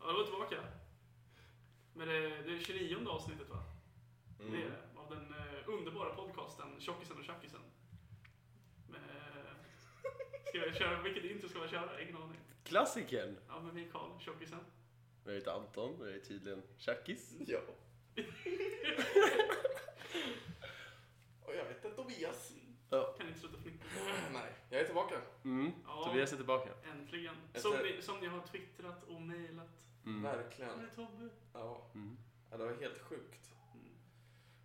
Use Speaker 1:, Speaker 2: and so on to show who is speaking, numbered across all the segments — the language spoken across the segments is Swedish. Speaker 1: Ja, då var vi tillbaka. Men det, det är 29 avsnittet va?
Speaker 2: Mm.
Speaker 1: Det är det. Av den eh, underbara podcasten Tjockisen och Tjackisen. Men, eh, ska jag köra, vilket intro ska jag köra? Ingen aning.
Speaker 3: Klassikern.
Speaker 1: Ja, men vi är Karl, Tjockisen.
Speaker 3: Jag heter Anton och jag är tydligen tjackis.
Speaker 2: Ja. Och jag heter Tobias.
Speaker 1: Kan inte sluta fnittra.
Speaker 2: Nej, jag är tillbaka.
Speaker 3: Mm.
Speaker 1: Ja.
Speaker 3: Tobias är tillbaka.
Speaker 1: Äntligen.
Speaker 2: Efter-
Speaker 1: Som ni, som ni har twittrat och mejlat.
Speaker 3: Mm.
Speaker 1: Var är
Speaker 2: Verkligen.
Speaker 1: Tobbe?
Speaker 2: Ja.
Speaker 3: Mm.
Speaker 2: ja, det var helt sjukt
Speaker 1: Mm.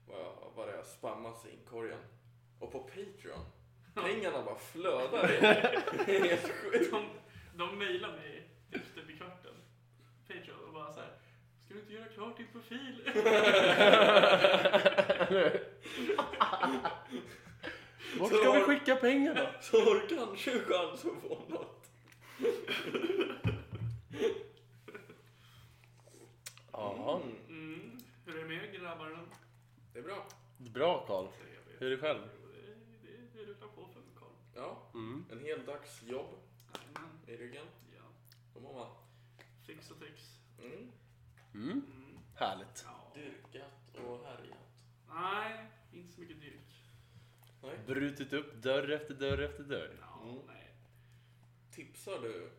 Speaker 2: vad jag, vad jag spammas i inkorgen. Och på Patreon. Pengarna bara flödar in. Det är helt sjukt.
Speaker 1: De, de mejlar mig typ typ i kvarten. Patreon och bara så här. Ska du inte göra klart din profil?
Speaker 3: Vart ska
Speaker 2: Så-
Speaker 3: vi skicka pengarna?
Speaker 2: Så har du kanske en chans att få något.
Speaker 3: Ja,
Speaker 2: Mm.
Speaker 1: Mm. Hur är det med er grabbar?
Speaker 2: Det är bra.
Speaker 3: bra Karl. Hur är det själv?
Speaker 1: Jo, det- Det det rullar på för mig Karl.
Speaker 2: Ja,
Speaker 3: Mm.
Speaker 2: en hel dags jobb
Speaker 1: Jajamän.
Speaker 2: i ryggen.
Speaker 1: Ja.
Speaker 2: Då mår man.
Speaker 1: Fix och trix.
Speaker 2: Mm.
Speaker 3: Mm.
Speaker 1: Mm.
Speaker 3: Härligt.
Speaker 1: Ja.
Speaker 2: Dyrkat och härjat.
Speaker 1: Nej, inte så mycket dyrk.
Speaker 2: Nej.
Speaker 3: Brutit upp dörr efter dörr efter dörr.
Speaker 1: Ja,
Speaker 2: Mm.
Speaker 1: nej.
Speaker 2: Tipsar du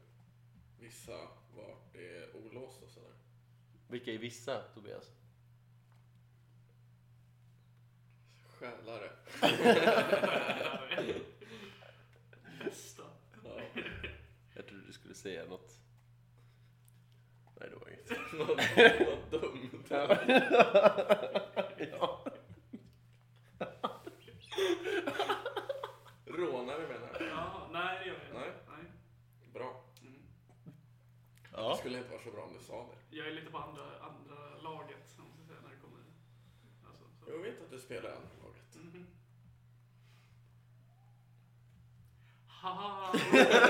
Speaker 2: vissa vart det är olåst och sådär?
Speaker 3: Vilka är vissa, Tobias?
Speaker 2: Stjälare.
Speaker 1: Bästa.
Speaker 2: Ja.
Speaker 3: Jag trodde du skulle säga något. Nej, det var inget.
Speaker 2: Vad vad dumt.
Speaker 3: ja.
Speaker 2: Rånare menar jag.
Speaker 1: Ja, nej det gör jag
Speaker 2: Nej.
Speaker 1: inte. Nej.
Speaker 2: Bra.
Speaker 1: Mm.
Speaker 2: Det
Speaker 3: ja.
Speaker 2: skulle inte vara så bra om du sa det.
Speaker 1: Jag är lite på andra, andra laget, om man ska säga, när det kommer... Alltså, så.
Speaker 2: Jag vet att du spelar i andra laget.
Speaker 1: Mhm. Haha.
Speaker 2: Ja.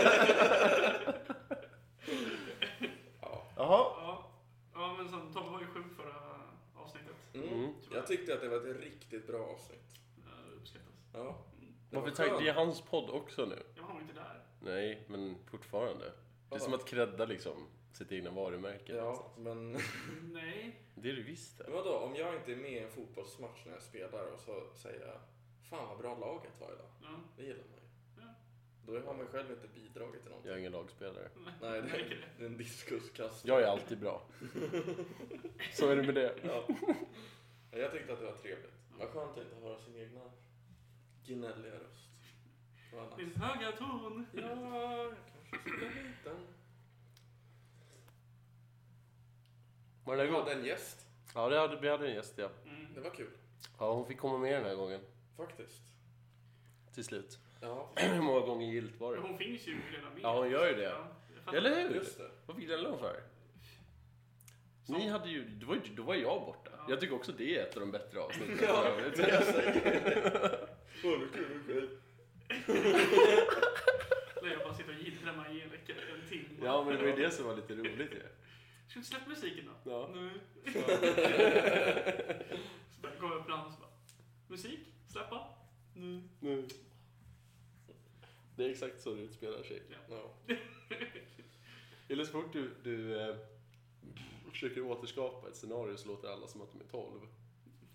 Speaker 3: Jaha.
Speaker 1: ja. ja, men sen Tobbe var ju sjuk förra avsnittet.
Speaker 2: Mm.
Speaker 3: Mm.
Speaker 2: Jag tyckte att det var ett riktigt bra avsnitt.
Speaker 1: Eh, Det uppskattas.
Speaker 2: Ja. Det var
Speaker 3: Varför taggade
Speaker 2: skönt.
Speaker 3: jag hans podd också nu?
Speaker 1: Jag var inte där.
Speaker 3: Nej, men fortfarande. Det är
Speaker 2: Vadå?
Speaker 3: som att credda liksom sitt egna varumärke.
Speaker 2: Ja, men
Speaker 1: Nej.
Speaker 3: Det är du visst det.
Speaker 2: vadå? Om jag inte är med i en fotbollsmatch när jag spelar och så säger jag Fan vad bra laget var idag.
Speaker 1: Ja.
Speaker 2: Det gillar man ju.
Speaker 1: Ja.
Speaker 2: Då har man själv inte bidragit till någonting.
Speaker 3: Jag är ingen lagspelare.
Speaker 2: Nej, det
Speaker 1: Märker
Speaker 2: är, det är en diskuskast.
Speaker 3: Jag är alltid bra. Så är det med det.
Speaker 2: Ja. Ja, Jag tyckte att det var trevligt. Vad skönt att inte höra sin egna gnälliga röst. Det var
Speaker 1: Din
Speaker 2: nice.
Speaker 1: höga ton.
Speaker 2: Ja, jag kanske ska lägga hit den.
Speaker 3: Var det
Speaker 2: Vi
Speaker 3: där god?
Speaker 2: hade en gäst.
Speaker 3: Ja, det hade, vi hade en gäst ja.
Speaker 2: Det
Speaker 1: Mm.
Speaker 2: var kul,
Speaker 3: Ja, hon fick komma med den här gången.
Speaker 2: faktiskt.
Speaker 3: Till slut.
Speaker 2: Ja,
Speaker 3: Hur många gånger gillt var
Speaker 1: Men
Speaker 3: det?
Speaker 1: Hon finns ju redan med.
Speaker 3: Ja, hon gör ju det.
Speaker 1: Ja, jag fattar.
Speaker 3: Eller hur?
Speaker 2: just det.
Speaker 3: Vad fick den lön för?
Speaker 1: Som-
Speaker 3: Ni hade ju, då var, ju- då var jag borta.
Speaker 1: Ja.
Speaker 3: Jag tycker också det är ett av de bättre avsnitten.
Speaker 2: Ja,
Speaker 3: Jag vet
Speaker 2: men
Speaker 3: inte.
Speaker 2: jag säger Åh, vad kul kväll.
Speaker 1: Eller jag bara sitter och gillrar mig i en vecka, en timme.
Speaker 3: ja men det var ju det som var lite roligt ju.
Speaker 1: Ska du inte släppa musiken då?
Speaker 3: Ja.
Speaker 1: Nu. så bara går jag fram och så bara. Musik, släppa. Nu.
Speaker 3: Nu. Det är exakt så det utspelar sig.
Speaker 2: Ja.
Speaker 3: Eller så fort du, du eh, försöker återskapa ett scenario så låter alla som att de är 12.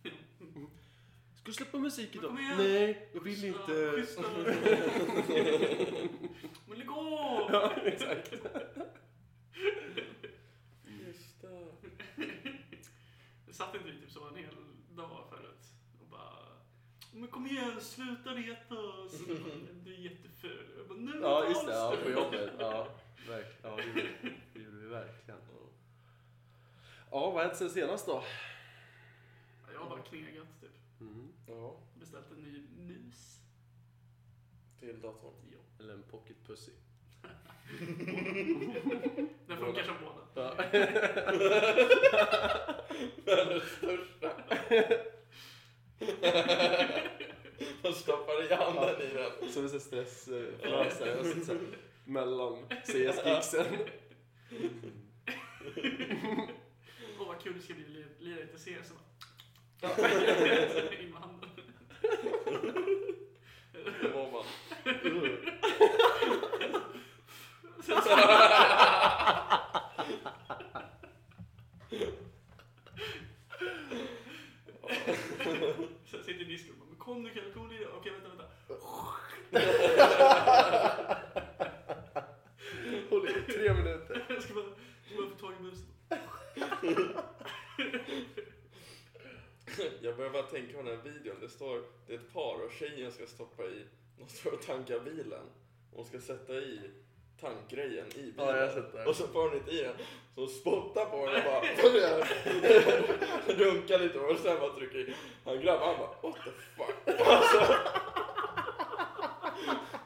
Speaker 3: Ska du släppa musik
Speaker 1: Men
Speaker 3: idag?
Speaker 1: kom igen.
Speaker 3: Nej, jag vill inte.
Speaker 1: Schyssta. Men lägg av!
Speaker 3: Ja, exakt.
Speaker 2: Just det.
Speaker 1: Jag satt inte vi typ så en hel dag förut och bara Men kom igen, sluta retas! Du är jätteful. Jag bara, nu
Speaker 3: Ja, just det.
Speaker 1: tas
Speaker 3: Ja,
Speaker 1: du."
Speaker 3: på jobbet. Ja, verk, ja det, gjorde, vi. det gjorde vi verkligen. Ja, vad har hänt sen senast då?
Speaker 1: Ja, Jag har bara knegat typ.
Speaker 3: Mm.
Speaker 2: Ja,
Speaker 1: Beställt en ny mus.
Speaker 2: till datorn.
Speaker 1: Ja.
Speaker 3: Eller en pocket pussy.
Speaker 1: Den funkar som båda.
Speaker 3: Ja.
Speaker 2: Världens största. Man stoppar i handen i den.
Speaker 3: Som en sån här eh, stressflösare. och så- så här Mellan CS-gigsen.
Speaker 1: Åh vad kul det ska bli att li- lira lite CS. Så bara- In med handen.
Speaker 2: Då mår man.
Speaker 1: Sen så- disken. Bara, Men kom nu Kalle, kom nu. Okej, vänta, vänta.
Speaker 3: Håll i tre minuter.
Speaker 1: Jag ska bara, ska bara få tag i musen.
Speaker 2: Jag börjar bara tänka på den här videon. Det står, det är ett par och tjejen ska stoppa i, de står och tankar bilen. Hon ska sätta i tankgrejen i bilen.
Speaker 3: Ja, jag har sett det.
Speaker 2: Och så får hon inte i den. Så hon spottar på den och bara runkar lite och sen bara trycker i. Han grabbar, han bara what the fuck.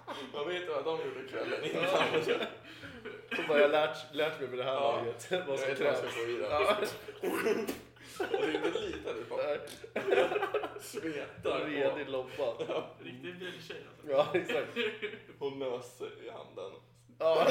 Speaker 2: Alltså, man vet ju vad de gjorde kvällen innan.
Speaker 3: Och bara, jag har lärt, lärt mig med det här
Speaker 2: Ja.
Speaker 3: laget vad
Speaker 2: Jag
Speaker 3: som
Speaker 2: vet vad
Speaker 3: krävs.
Speaker 2: jag ska få i den.
Speaker 3: Ja.
Speaker 2: Och det är inte lite nu bara
Speaker 3: Nej,
Speaker 2: svetar på.
Speaker 3: Redig lobba.
Speaker 1: Riktig vältjej alltså.
Speaker 3: Ja, exakt.
Speaker 2: Hon nöser i handen.
Speaker 3: Ja.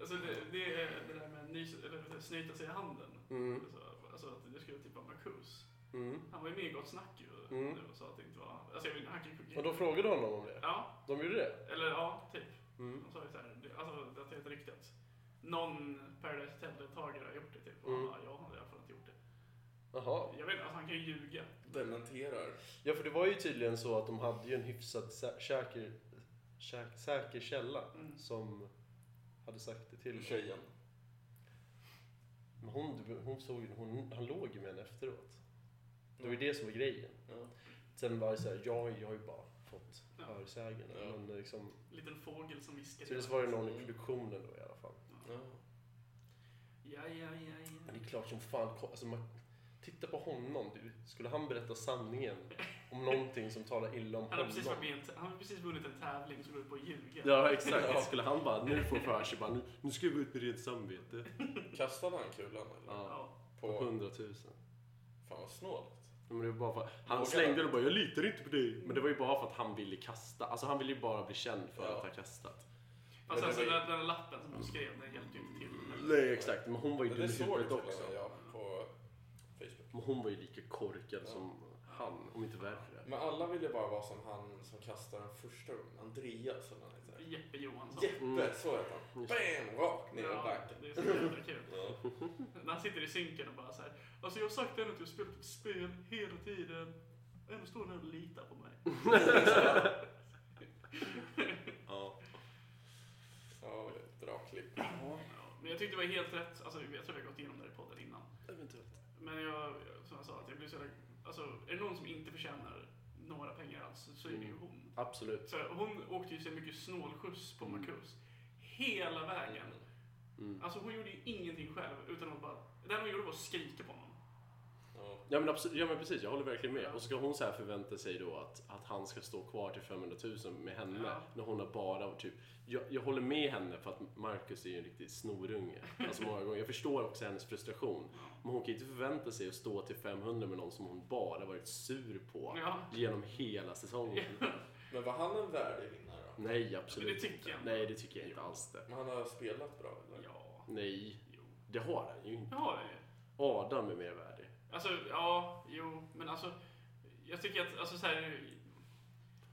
Speaker 1: Alltså det, det är det där med att nys, eller vad heter det, snyta sig i handen.
Speaker 2: Mm.
Speaker 1: Alltså, alltså att det skulle typ vara Marcus.
Speaker 2: Mm.
Speaker 1: Han var ju med i Gott Snack ju
Speaker 2: Mm.
Speaker 1: nu och sa att det inte var han. Alltså jag vet inte, han kan ju sjunga.
Speaker 3: Och de frågade honom om det.
Speaker 1: Ja,
Speaker 3: De gjorde det?
Speaker 1: eller ja, typ.
Speaker 2: Mm.
Speaker 1: Han sa ju såhär, alltså att det inte riktigt. Någon Paradise Hotel-deltagare har gjort det typ. Och
Speaker 2: Mm.
Speaker 1: han bara, jag har i alla fall inte gjort det.
Speaker 3: Jaha.
Speaker 1: Jag vet inte, alltså han kan ju ljuga.
Speaker 2: Dementerar.
Speaker 3: Ja, för det var ju tydligen så att de hade ju en hyfsat sä- säker, säk- säker källa
Speaker 1: Mm.
Speaker 3: som hade sagt det till
Speaker 2: Till
Speaker 3: honom.
Speaker 2: tjejen.
Speaker 3: Men hon, hon såg ju- hon, han låg ju med henne efteråt. Det var ju det som var grejen.
Speaker 2: Ja.
Speaker 3: Sen var det så här, jag, jag har ju bara fått
Speaker 1: Ja.
Speaker 3: hörsägen.
Speaker 2: Ja.
Speaker 3: Men liksom,
Speaker 1: Liten fågel som viskar.
Speaker 3: tydligen så var det någon i produktionen då i alla fall.
Speaker 2: Ja.
Speaker 1: Ja, ja, ja, ja.
Speaker 3: Men det är klart som fan, ko- alltså man, titta på honom du. Skulle han berätta sanningen om någonting som talar illa om
Speaker 1: Han har
Speaker 3: honom?
Speaker 1: precis, varit med i en t- han har precis vunnit en tävling som går ut på att ljuga.
Speaker 3: Ja, exakt. Skulle han bara, nu får för sig bara, nu, nu ska jag gå ut med rent samvete.
Speaker 2: Kastade han kulan eller?
Speaker 3: Ja.
Speaker 1: Ja.
Speaker 3: På
Speaker 2: På...
Speaker 3: 100 000.
Speaker 2: Fan vad snålt.
Speaker 3: Men det var bara för, han
Speaker 2: Vågar
Speaker 3: slängde
Speaker 2: han?
Speaker 3: det och bara, jag litar inte på dig. Men det var ju bara för att han ville kasta. Alltså han ville ju bara bli känd för
Speaker 2: Ja.
Speaker 3: att ha kastat.
Speaker 1: Fast
Speaker 2: Men
Speaker 1: alltså
Speaker 2: det
Speaker 1: den
Speaker 2: var ju-
Speaker 1: där lappen som hon skrev, den hjälpte ju inte Typ till.
Speaker 3: Nej, exakt. Men hon var ju
Speaker 2: Men
Speaker 3: dum i
Speaker 2: det såg
Speaker 3: huvudet
Speaker 2: jag också.
Speaker 3: också.
Speaker 2: Ja, på Facebook.
Speaker 3: Men hon var ju lika korkad
Speaker 2: Ja.
Speaker 3: som han, om inte värre.
Speaker 2: Men alla ville bara vara som han som kastade den första gången. Andreas eller vad han heter.
Speaker 1: Jeppe Johansson.
Speaker 2: Jeppe,
Speaker 3: Mm.
Speaker 2: så heter han.
Speaker 3: Just
Speaker 2: Bam! Rakt ner i
Speaker 1: Ja,
Speaker 2: banken.
Speaker 1: det är så jävla kul.
Speaker 2: Ja.
Speaker 1: När han sitter i synken och bara såhär. Alltså jag har sagt ändå att jag har spelat ett spel hela tiden. Och Ändå står ni och litar på mig.
Speaker 3: Ja.
Speaker 2: ja, det är bra klipp.
Speaker 1: Ja, men jag tyckte det var helt rätt. Alltså jag tror vi har gått igenom det här i podden innan.
Speaker 3: Eventuellt.
Speaker 1: Men jag, som jag sa, att jag blir så jävla... Alltså är det någon som inte förtjänar några pengar alls så är det ju
Speaker 3: Mm.
Speaker 1: hon.
Speaker 3: Absolut.
Speaker 1: Så hon åkte ju så mycket snålskjuts på
Speaker 3: Mm.
Speaker 1: Marcus. Hela vägen.
Speaker 3: Mm.
Speaker 1: Alltså hon gjorde ju ingenting själv utan hon bara... Det enda hon gjorde var att skrika på honom.
Speaker 2: Ja.
Speaker 3: Ja men, absolut, ja men precis, jag håller verkligen med. Och så ska hon så här förvänta sig då att, att han ska stå kvar till 500 000 med henne
Speaker 1: Ja.
Speaker 3: när hon har bara typ... Jag, jag håller med henne för att Marcus är ju en riktig snorunge. Alltså många gånger. Jag förstår också hennes frustration. Men hon kan ju inte förvänta sig att stå till 500 med någon som hon bara varit sur på
Speaker 1: Ja.
Speaker 3: genom hela säsongen.
Speaker 2: Men var han en värdig vinnare då?
Speaker 3: Nej, absolut
Speaker 1: Men det tycker
Speaker 3: inte.
Speaker 1: jag.
Speaker 3: Nej, det tycker jag inte alls det.
Speaker 2: Men han har spelat bra eller?
Speaker 1: Ja.
Speaker 3: Nej,
Speaker 1: Jo.
Speaker 3: det har han ju inte.
Speaker 1: Ja, det är-
Speaker 3: Adam är mer värdig.
Speaker 1: Alltså, ja, jo, men alltså. Jag tycker att, alltså så här,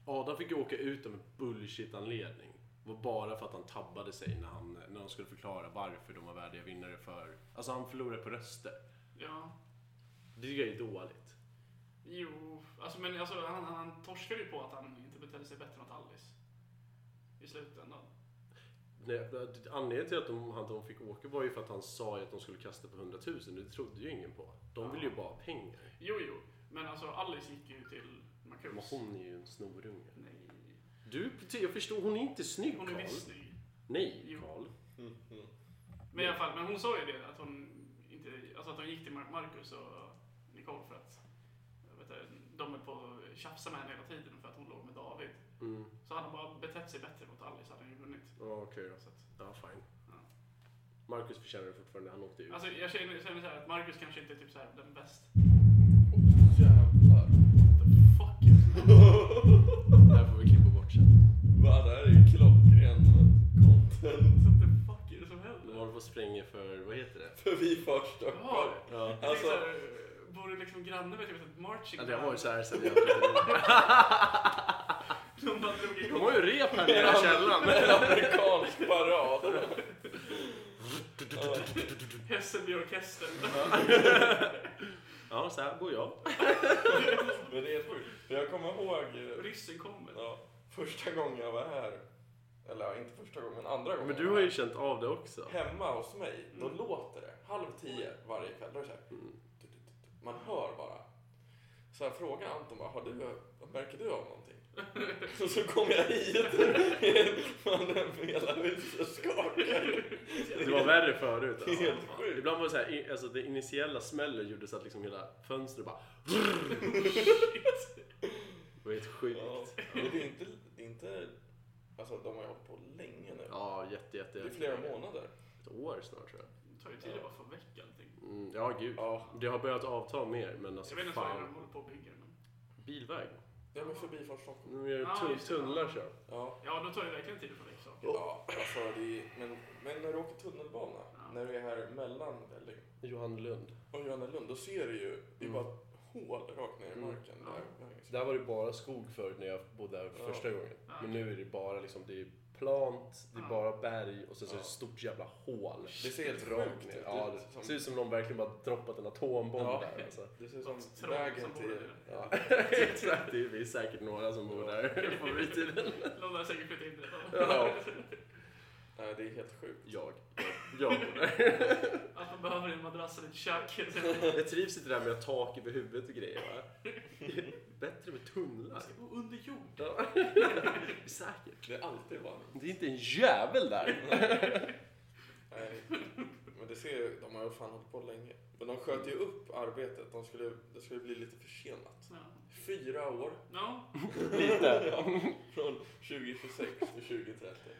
Speaker 3: Adam fick ju åka ut av en bullshit-anledning. Det var bara för att han tabbade sig när, han, när de skulle förklara varför de var värdiga vinnare för... Alltså han förlorade på röster.
Speaker 1: ja,
Speaker 3: Det tycker jag är dåligt.
Speaker 1: jo, alltså men alltså han, han torskade ju på att han inte betedde sig bättre mot Alice. I slutändan.
Speaker 3: Nej, det- anledningen till att de, att de fick åka var ju för att han sa ju att de skulle kasta på 100 000. Det trodde ju ingen på. De ville ju bara ha pengar.
Speaker 1: Jo, jo, men alltså Alice gick ju till
Speaker 3: Men
Speaker 1: Marcus.
Speaker 3: hon är ju en snorunge.
Speaker 1: Nej,
Speaker 3: Du, jag förstår, hon är inte snygg
Speaker 1: hon är
Speaker 3: Karl.
Speaker 1: visst snygg.
Speaker 3: Nej,
Speaker 1: Jo.
Speaker 3: Karl.
Speaker 2: Mm. Mm.
Speaker 1: Men i alla fall, men hon sa ju det att hon inte, alltså att hon gick till Mar- Marcus och Nicole för att jag vet inte, de är på att tjafsa med henne hela tiden för att hon låg med David.
Speaker 3: Mm.
Speaker 1: Så hade hon bara betett sig bättre mot Alice hade hon ju vunnit.
Speaker 3: Ja, okej då.
Speaker 1: Så att,
Speaker 3: Ja, fine.
Speaker 1: Ja.
Speaker 3: Marcus förtjänar det fortfarande. Han åkte ut.
Speaker 1: Alltså jag känner, jag känner så här att Marcus kanske inte är typ så här den bästa.
Speaker 2: Åh, jävlar.
Speaker 1: What the fuck is
Speaker 3: Det här får vi klippa bort sen.
Speaker 2: Va, det här är ju klockren content.
Speaker 1: What the fuck är det som
Speaker 3: De
Speaker 1: händer?
Speaker 3: håller på och spränger för, vad heter det?
Speaker 2: För vi först och
Speaker 1: Jaha.
Speaker 3: Ja.
Speaker 1: Jag
Speaker 2: Alltså-
Speaker 1: tänker så här, borde liksom granne med typ ett marching
Speaker 3: Det har varit så
Speaker 1: band.
Speaker 3: här sen jag De
Speaker 1: De bara drog igång.
Speaker 3: har ju rep här nere i källaren.
Speaker 2: En amerikansk parad.
Speaker 1: Hässelby orkester.
Speaker 3: ja, så här går jag.
Speaker 2: Men det är sjukt. För jag kommer ihåg eh,
Speaker 1: Ryssen kommer.
Speaker 2: ja, första gången jag var här. Eller ja, inte första gången, men andra gången.
Speaker 3: Men
Speaker 2: jag
Speaker 3: du
Speaker 2: var
Speaker 3: har ju
Speaker 2: här.
Speaker 3: känt av det också.
Speaker 2: Hemma hos mig, då
Speaker 1: Mm.
Speaker 2: låter det. Halv tio varje kväll. Då är det så här,
Speaker 3: Mm.
Speaker 2: man hör bara. Så jag frågade Anton bara, har du, märker du av någonting? Och så kom jag hit. Mannen, hela huset skakar.
Speaker 3: Det var värre förut.
Speaker 2: Det är
Speaker 3: Alltså.
Speaker 2: helt sjukt.
Speaker 3: Ibland var det så här, i- alltså det initiella smällen gjorde så att liksom hela fönstret bara... Det var helt
Speaker 2: Ja.
Speaker 3: sjukt.
Speaker 2: Men det är inte, det är inte, alltså de har ju hållit på länge nu.
Speaker 3: Ja, jätte, jätte,
Speaker 2: Det är
Speaker 3: jätte.
Speaker 2: flera månader.
Speaker 3: Ett år snart tror jag.
Speaker 1: Det tar ju tid att bara få väck allting.
Speaker 3: Mm, ja, gud.
Speaker 2: Ja.
Speaker 3: Det har börjat avta mer, men
Speaker 1: Jag
Speaker 3: alltså
Speaker 1: vet inte vad de
Speaker 3: fan.
Speaker 1: håller på och bygger. Men...
Speaker 3: Bilväg.
Speaker 2: Jag var förbi först Stockholm.
Speaker 3: Nu gör
Speaker 1: Ja,
Speaker 3: tun-
Speaker 1: just det.
Speaker 3: tunnlar så.
Speaker 2: Ja.
Speaker 1: Ja, då tar det verkligen tid att få väck saker.
Speaker 2: Ja, alltså det är, men, men när du åker tunnelbana,
Speaker 1: Ja.
Speaker 2: när du är här mellan Välling
Speaker 3: Johan Lund.
Speaker 2: och Grönelund, då ser du ju, det är
Speaker 3: Mm.
Speaker 2: bara hål rakt ner i
Speaker 3: Mm.
Speaker 2: marken.
Speaker 1: Ja.
Speaker 2: Där, där.
Speaker 3: Där var det bara skog förut när jag bodde där
Speaker 2: Ja.
Speaker 3: första gången.
Speaker 1: Ja.
Speaker 3: Men nu är det bara liksom, det är plant, det är
Speaker 1: Ja.
Speaker 3: bara berg och sen så är det
Speaker 2: Ja.
Speaker 3: ett stort jävla hål.
Speaker 2: Det ser helt
Speaker 3: Rakt
Speaker 2: sjukt
Speaker 3: ner.
Speaker 2: ut.
Speaker 3: Ja,
Speaker 2: Det är
Speaker 3: det
Speaker 2: som-
Speaker 3: ser ut som någon verkligen bara droppat en atombomb
Speaker 2: Ja.
Speaker 3: där. Alltså.
Speaker 2: Det ser ut
Speaker 1: Som
Speaker 2: som vägen till... Ja.
Speaker 3: Exakt, det är vi säkert några som bor där på fritiden.
Speaker 1: De har säkert flyttat in där.
Speaker 3: Ja.
Speaker 2: Nej, det är helt sjukt.
Speaker 3: Jag. Jag, jag bor där.
Speaker 1: Att de behöver en madrass och ett kök.
Speaker 3: Jag trivs inte där med att ha tak över huvudet och grejer. Va? Bättre med tunnlar.
Speaker 1: De ska bo under jord.
Speaker 3: Ja. Säkert.
Speaker 2: Det är alltid varmt.
Speaker 3: Det är inte en jävel där.
Speaker 2: Nej. Men det ser ju, de har ju fan hållit på länge. Men de sköt ju upp arbetet, de skulle, det skulle bli lite försenat.
Speaker 1: Ja.
Speaker 2: Fyra år.
Speaker 1: Ja.
Speaker 3: Lite.
Speaker 2: Från 2026 till 2030.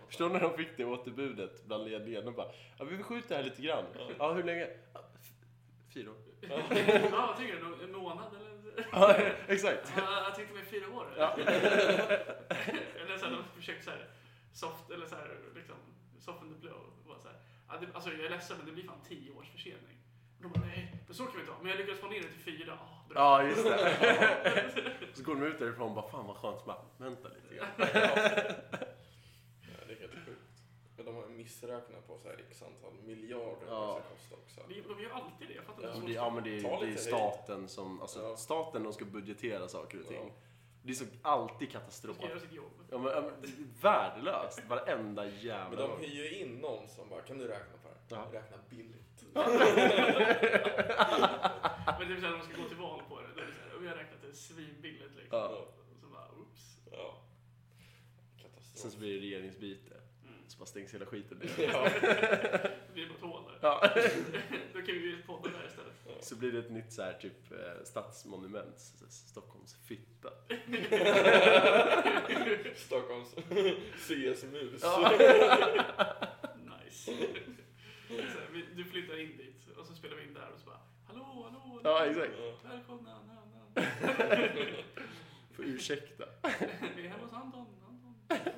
Speaker 3: Förstår ni när de fick det återbudet bland ledningen? De bara, ja, vi skjuter det här lite grann. Ja, hur länge? Ja, f- Fyra år.
Speaker 1: ja, vad tycker du? En månad eller?
Speaker 3: Ja, exakt.
Speaker 1: Ja, jag tänkte mig fyra år.
Speaker 3: Ja.
Speaker 1: eller så här, de försökte så här, soft, eller så här, liksom, soften the blow. Och bara så här, ja, det, alltså jag är ledsen men det blir fan tio års försening. Och de bara, nej, men så kan vi inte ha. Men jag lyckades få ner det till fyra. Ah, bra.
Speaker 3: Ja, just det. Så går de ut därifrån och bara, fan vad skönt. Så Bara, Vänta lite grann.
Speaker 2: Ja, det är helt sjukt. Men de har missräknat på så här x antal miljarder
Speaker 3: Ja.
Speaker 2: vad det ska kosta också.
Speaker 1: De, de gör alltid det. Jag fattar
Speaker 2: Ja,
Speaker 1: inte.
Speaker 3: Men det, ja, men det,
Speaker 2: Ta
Speaker 3: är, det
Speaker 2: lite
Speaker 3: är
Speaker 2: höjd.
Speaker 3: staten som, alltså
Speaker 2: Ja.
Speaker 3: staten de ska budgetera saker och ting.
Speaker 2: Ja.
Speaker 3: Det är så alltid
Speaker 1: De
Speaker 3: katastrof.
Speaker 1: ska göra sitt jobb.
Speaker 3: Ja, men, ja, men, det är värdelöst, varenda jävla
Speaker 2: Men de
Speaker 3: gång.
Speaker 2: hyr ju in någon som bara, kan du räkna på det här?
Speaker 3: Ja.
Speaker 2: Räkna billigt.
Speaker 1: Men typ såhär, de ska gå till val på det. Då är det så här, vi har räknat det svinbilligt liksom.
Speaker 3: Ja.
Speaker 1: Och så bara, oops.
Speaker 2: Ja.
Speaker 3: Sen så
Speaker 2: Katastrof.
Speaker 3: blir det regeringsbyte,
Speaker 1: Mm.
Speaker 3: så bara stängs hela skiten ner.
Speaker 2: Ja.
Speaker 1: Det blir bara ett hål där.
Speaker 3: Ja.
Speaker 1: Då kan vi ju podda där istället.
Speaker 3: Så blir det ett nytt så här, typ eh, stadsmonument, så- så- Stockholms fitta.
Speaker 2: Stockholms CS-mus.
Speaker 1: Nice. Så här, vi- Du flyttar in dit och så spelar vi in där och så bara Hallå, hallå,
Speaker 3: Ja,
Speaker 1: hallå.
Speaker 3: exakt.
Speaker 1: Välkomna, na, na.
Speaker 3: Får ursäkta.
Speaker 1: Vi är hemma hos Anton. Anton.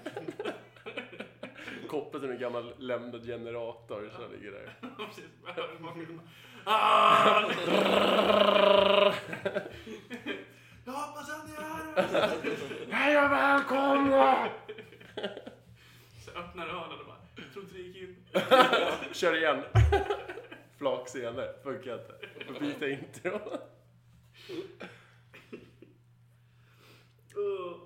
Speaker 3: Kopplat till en gammal lämnad generator som ligger där.
Speaker 1: Precis, jag hör hur bakgrunden bara, "Ah!" Jag hoppas att ni hör!
Speaker 3: Hej och välkomna!
Speaker 1: Så öppnar ölen och bara, jag tror inte det gick in.
Speaker 3: Kör igen. Flak scener, funkar inte. Får byta intro.
Speaker 1: Uh,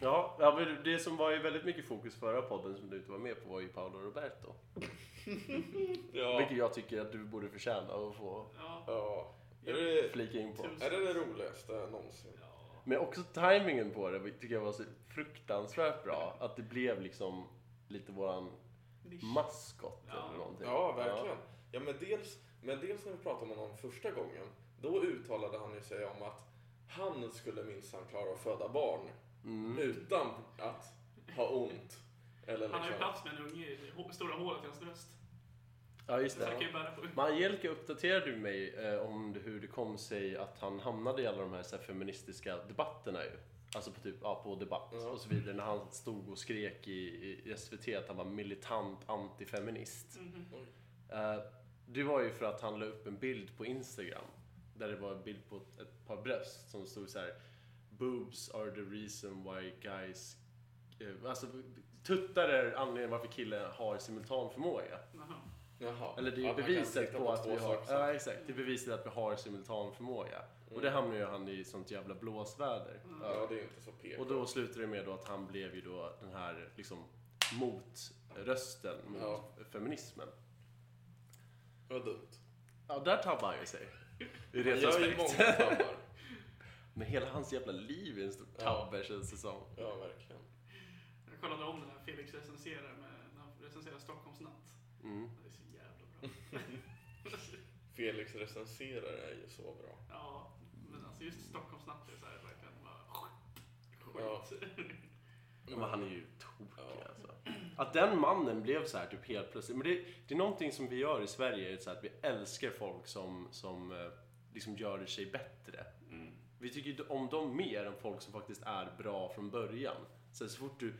Speaker 3: Ja, ja, men det som var ju väldigt mycket fokus förra podden som du inte var med på var ju Paolo Roberto.
Speaker 2: Ja.
Speaker 3: Vilket jag tycker att du borde förtjäna att få
Speaker 1: Ja,
Speaker 2: ja. Är det,
Speaker 3: flika in på.
Speaker 2: är det det roligaste någonsin?
Speaker 1: ja.
Speaker 3: Men också tajmingen på det tycker jag var så fruktansvärt bra. Att det blev liksom lite våran
Speaker 1: Nisch.
Speaker 3: maskot
Speaker 1: Ja.
Speaker 3: eller någonting.
Speaker 2: Ja, verkligen. Ja, men, dels, men dels när vi pratade om honom första gången, då uttalade han ju sig om att han skulle minsann klara att föda barn
Speaker 3: Mm.
Speaker 2: utan att ha ont. Eller
Speaker 1: Han har ju
Speaker 2: liksom...
Speaker 1: plats med en unge i det hå- stora hålet i hans röst.
Speaker 3: ja, just
Speaker 1: Så han
Speaker 3: det.
Speaker 1: kan ju bära på
Speaker 3: Men Angelica uppdaterade ju mig eh, om det- hur det kom sig att han hamnade i alla de här, så här feministiska debatterna ju. Alltså på typ, ja, på debatt
Speaker 2: Ja.
Speaker 3: och så vidare. När han stod och skrek i, i SVT att han var militant antifeminist.
Speaker 1: Mhm.
Speaker 3: Eh, det var ju för att han la upp en bild på Instagram. Där det var en bild på ett, ett par bröst som stod så här. Boobs are the reason why guys... eh, Alltså tuttar är anledningen varför killar har simultanförmåga.
Speaker 1: Jaha.
Speaker 2: Jaha.
Speaker 3: Eller det är ju
Speaker 2: Att man kan
Speaker 3: beviset
Speaker 2: sitta
Speaker 3: på att
Speaker 2: två
Speaker 3: vi har...
Speaker 2: saker
Speaker 3: Ja,
Speaker 2: samtidigt.
Speaker 3: exakt. Det är beviset att vi har simultanförmåga. Och det hamnar ju han i sånt jävla blåsväder.
Speaker 1: Mm.
Speaker 2: Mm. Ja, det är ju inte så PK.
Speaker 3: Och då slutar det med då att han blev ju då den här liksom motrösten mot
Speaker 2: Ja.
Speaker 3: feminismen.
Speaker 2: Det var dumt.
Speaker 3: Ja, där tabbar han ju sig. I
Speaker 2: Han gör ju
Speaker 3: retrospekt.
Speaker 2: många tappar.
Speaker 3: Men hela hans jävla liv är en stor
Speaker 2: Ja.
Speaker 3: tabbe känns det som.
Speaker 2: Ja, verkligen.
Speaker 1: Jag kollade om den här Felix recenserar med, när han recenserar Stockholms natt.
Speaker 3: Mm.
Speaker 1: Det är så jävla bra.
Speaker 2: Felix recenserare är ju så bra.
Speaker 1: Ja, men alltså just Stockholms natt är så här verkligen bara
Speaker 2: Ja.
Speaker 1: skit.
Speaker 3: Men han är ju tokig
Speaker 2: Ja.
Speaker 3: alltså. Att den mannen blev så här typ helt plötsligt. Men det, det är någonting som vi gör i Sverige, är så här att vi älskar folk som, som eh, liksom gör sig bättre.
Speaker 1: Mm.
Speaker 3: Vi tycker ju om dem mer än folk som faktiskt är bra från början. Sen så fort du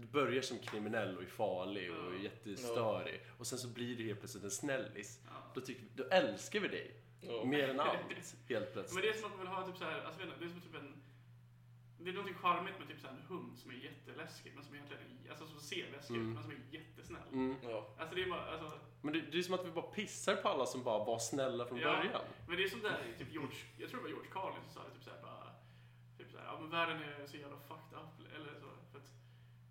Speaker 3: du börjar som kriminell och är farlig och är
Speaker 1: Ja.
Speaker 3: jättestörig och sen så blir du helt plötsligt en snällis.
Speaker 1: Ja.
Speaker 3: Då, tycker, vi- då älskar vi dig
Speaker 2: Ja.
Speaker 3: mer än allt helt
Speaker 1: Men
Speaker 3: plötsligt.
Speaker 1: det är som att man vill ha typ så här, alltså, jag vet inte, det är som typ en det är någonting charmigt med typ så här en hund som är jätteläskig men som egentligen är- alltså som ser läskig ut
Speaker 3: Mm.
Speaker 1: men som är jättesnäll.
Speaker 3: Mm.
Speaker 2: Ja.
Speaker 1: Alltså det är bara, alltså,
Speaker 3: Men det, det är som att vi bara pissar på alla som bara var snälla från
Speaker 1: Ja.
Speaker 3: början.
Speaker 1: men det är som där typ George, jag tror det var George Carlin som sa det typ så här bara typ så här, ja men världen är så jävla fucked up eller så för att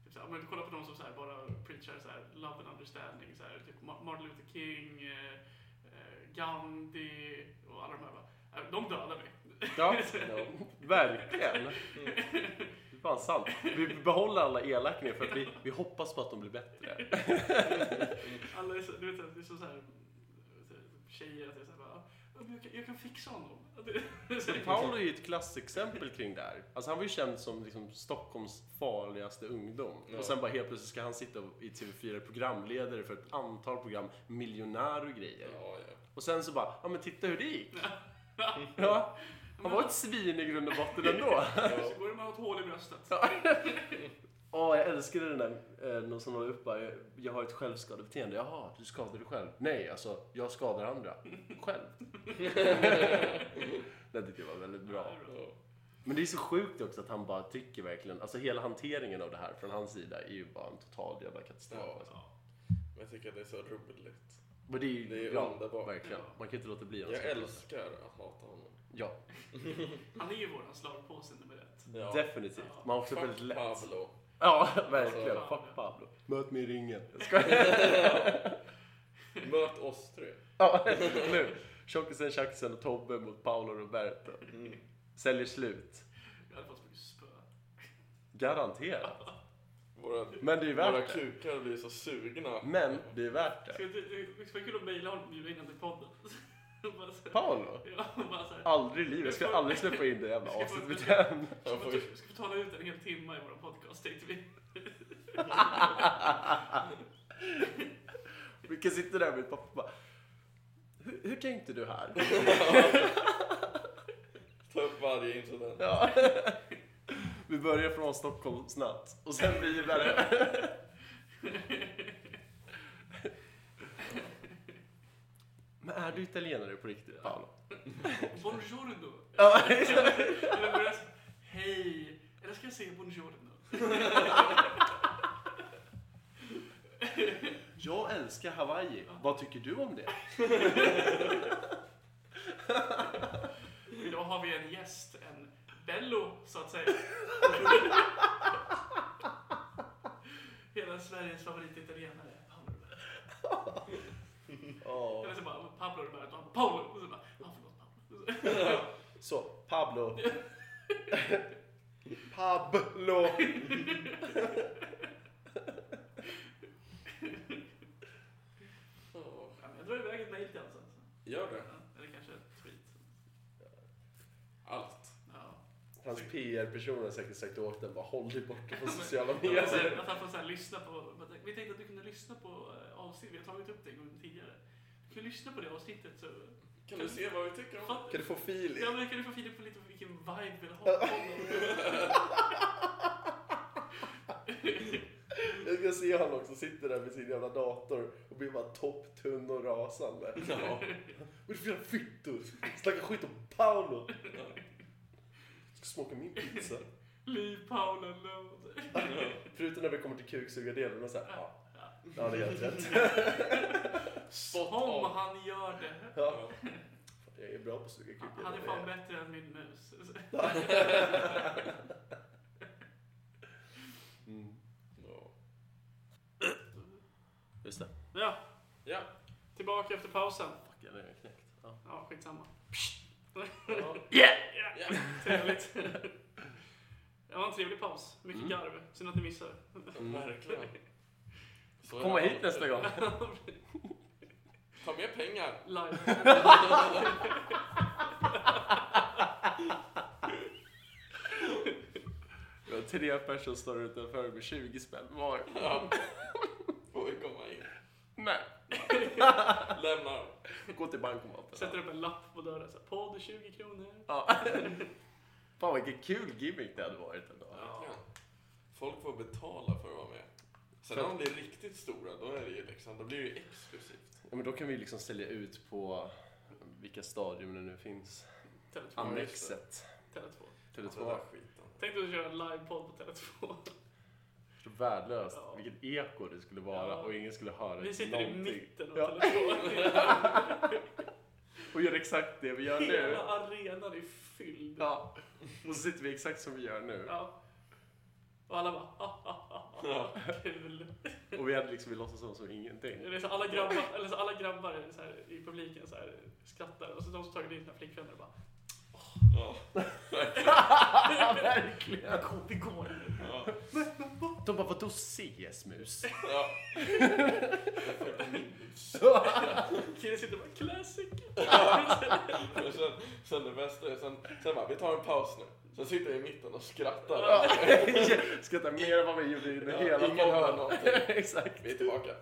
Speaker 1: typ så här, ja, men kolla på de som så här bara preachar så här love and understanding så här typ Ma- Martin Luther King, eh, eh, Gandhi och alla de här bara, "Äh, de dödar vi.
Speaker 3: Ja, verkligen. Det är fan sant. Vi behåller alla elakingar för att vi, vi hoppas på att de blir bättre.
Speaker 1: Alla är så, du vet, det är så, så här tjejer att det är så här, bara, "Ja, men jag, kan, jag kan fixa honom. Att det- det är så här-
Speaker 3: Paolo är ju ett klassexempel kring det här. Alltså han var ju känd som liksom Stockholms farligaste ungdom.
Speaker 2: Ja.
Speaker 3: Och sen bara helt plötsligt ska han sitta och- i TV4 programledare för ett antal program, miljonär och grejer.
Speaker 2: Ja, ja.
Speaker 3: Och sen så bara, ja men titta hur det gick. Ja, han var ett svin i grund och botten ändå.
Speaker 2: ja.
Speaker 1: Så går det med att ha ett hål i bröstet.
Speaker 3: Ja. Åh, jag älskade den där, eh, någon som la upp bara, jag, jag har ett självskadebeteende. Jaha, du skadar dig själv? Nej, alltså jag skadar andra. Själv. det tyckte jag var väldigt bra.
Speaker 1: Ja, det är
Speaker 2: ja.
Speaker 3: Men det är så sjukt också att han bara tycker verkligen, alltså hela hanteringen av det här från hans sida är ju bara en total jävla katastrof.
Speaker 2: Ja.
Speaker 3: Alltså.
Speaker 1: Ja.
Speaker 2: Men jag tycker att det är så roligt.
Speaker 3: Men det är ju,
Speaker 2: Det är ju
Speaker 3: ja,
Speaker 2: underbart.
Speaker 3: verkligen. Man kan inte låta bli en
Speaker 2: Jag
Speaker 3: sån.
Speaker 2: älskar att hata honom.
Speaker 3: Ja,
Speaker 1: Han är ju våran slagpåse nummer ett.
Speaker 2: Ja.
Speaker 3: definitivt. Man har också
Speaker 2: Fuck
Speaker 3: väldigt lätt.
Speaker 2: Pablo.
Speaker 3: Ja, verkligen.
Speaker 1: Alltså-
Speaker 3: Fuck Pablo. Möt mig i ringen. Jag skojar.
Speaker 2: Möt oss tre.
Speaker 3: Ja, nu. Tjockisen, Tjackisen och Tobbe mot Paolo Roberto. Mm. Säljer slut.
Speaker 1: Jag hade fått så mycket spö.
Speaker 3: Garanterat.
Speaker 2: Våra,
Speaker 3: Men det är ju
Speaker 2: våra
Speaker 3: värt det.
Speaker 2: kukar blir så sugna.
Speaker 3: Men det är värt
Speaker 1: Ska
Speaker 3: det.
Speaker 1: Det det- det skulle vara kul att mejla honom och bjuda in honom till podden. Bara så här-
Speaker 3: Paolo?
Speaker 1: Ja, bara så här.
Speaker 3: Aldrig i livet. Jag ska aldrig släppa in det jävla aset i mitt hem.
Speaker 2: Jag får
Speaker 1: Vi
Speaker 2: ju-
Speaker 1: ska få tala ut en hel timme i våran podcast tänkte vi.
Speaker 3: Vi kan sitta där med ett papper och bara. Hur, hur tänkte du här?
Speaker 2: Ta upp varje incident.
Speaker 3: Ja. Vi börjar från Stockholmsnatt och sen vidare. Men är du italienare på riktigt, Paolo?
Speaker 1: Buongiorno.
Speaker 3: Ja,
Speaker 1: Eller börjar så- Hej. Eller ska jag säga buongiorno?
Speaker 3: Jag älskar Hawaii. Vad tycker du om det?
Speaker 1: Idag har vi en gäst, en bello så att säga. Hela Sveriges favorititalienare. Paolo Roberto. Eller så bara Pablo Roberto, han bara, Paolo. Och så bara, ah, förlåt Paolo.
Speaker 3: Så, Pablo. Pablo.
Speaker 2: Ja,
Speaker 1: Ja, men Jag drar iväg ett mejl till honom sen.
Speaker 2: Gör
Speaker 1: Ja,
Speaker 2: det.
Speaker 1: Eller kanske ett tweet.
Speaker 2: Allt.
Speaker 1: Ja.
Speaker 3: Hans PR-person har säkert sagt åt den bara håll dig borta från sociala
Speaker 1: Ja, men så här,
Speaker 3: medier.
Speaker 1: Att han får så här lyssna på, vi tänkte att du kunde lyssna på eh, avsnitt, vi har tagit upp det en gång tidigare. Du kan lyssna på det avsnittet så...
Speaker 2: Kan du se vad vi tycker om
Speaker 1: Fatt-
Speaker 3: Kan du få feeling?
Speaker 1: Ja men kan du få Filip på lite vilken vibe vi vill ha på honom?
Speaker 3: Jag ska se honom också sitter där med sin jävla dator och blir bara topptunn och rasande.
Speaker 2: Ja.
Speaker 3: Vad är det för jävla fittor? Snackar skit om Paolo. Ska smaka min pizza.
Speaker 1: Leave Paul alone.
Speaker 3: Förutom när vi kommer till kuksugardelen och såhär, ja. Ja, det är helt rätt.
Speaker 1: Om han gör det.
Speaker 3: Ja. Jag är bra på att suga kuk.
Speaker 1: Han är fan bättre än min mus.
Speaker 3: Mm.
Speaker 2: Ja.
Speaker 3: Just det.
Speaker 1: Ja,
Speaker 2: Ja.
Speaker 1: tillbaka efter pausen.
Speaker 3: Fuck, jag har knäckt. Ja.
Speaker 1: Ja, skitsamma.
Speaker 2: ja.
Speaker 1: Yeah!
Speaker 2: ja.
Speaker 1: Trevligt. Det var en trevlig paus. Mycket
Speaker 3: Mm.
Speaker 1: garv. Synd att ni missar.
Speaker 2: Mm. Verkligen. Så är
Speaker 3: Komma
Speaker 2: det
Speaker 3: hit nästa gång.
Speaker 2: Ta med pengar.
Speaker 1: Live.
Speaker 3: Vi har tre personer som står utanför med 20 spänn var.
Speaker 2: Ja. Får vi komma in.
Speaker 3: Nej.
Speaker 2: Lämna.
Speaker 3: Gå till bankomaten.
Speaker 1: Sätter upp en lapp på dörren. Så här, Podd 20 kronor.
Speaker 3: Ja. Fan vilken kul gimmick det hade varit ändå.
Speaker 2: Ja. Folk får betala för att vara med. Sen om de blir riktigt stora, då är det ju liksom, då blir det ju exklusivt.
Speaker 3: Ja, men då kan vi liksom sälja ut på vilka stadium det nu finns.
Speaker 1: Tele2.
Speaker 3: Mm.
Speaker 2: Andra.
Speaker 3: Annexet.
Speaker 1: Tele2.
Speaker 2: Den Alltså, där
Speaker 3: Tele2.
Speaker 2: skiten.
Speaker 1: Tänkte att köra en livepodd på Tele2.
Speaker 3: Så Värdelöst.
Speaker 1: Ja.
Speaker 3: Vilket eko det skulle vara
Speaker 1: Ja.
Speaker 3: och ingen skulle höra
Speaker 1: Vi sitter i
Speaker 3: någonting.
Speaker 1: mitten av
Speaker 3: Ja.
Speaker 1: Tele2.
Speaker 3: Och gör exakt det vi gör nu.
Speaker 1: Hela arenan är fylld.
Speaker 3: Ja. Och så sitter vi exakt som vi gör nu.
Speaker 1: Ja. Och alla bara "Ah, ha, ha, ha, ha, kul.
Speaker 3: Och vi hade liksom, vi låtsas som, som ingenting.
Speaker 1: Det är så alla grabbar, eller så alla grabbar är så här, i publiken så här, skrattar och så de som tagit dit sina flickvänner bara
Speaker 2: Ja.
Speaker 3: Verkligen.
Speaker 1: "Gå, vi går.
Speaker 2: Ja.
Speaker 3: De bara, vadå CS mus?
Speaker 2: Ja. Jag får inte minus.
Speaker 1: Killen sitter bara classic.
Speaker 2: Och sen, sen det bästa är, sen, sen bara, vi tar en paus nu. Sen sitter vi i mitten och skrattar.
Speaker 1: Ja.
Speaker 3: Skrattar mer än vad vi gjorde under
Speaker 2: Ja,
Speaker 3: hela
Speaker 2: ingen hör
Speaker 3: podden.
Speaker 2: någonting.
Speaker 3: Exakt.
Speaker 2: Vi är tillbaka.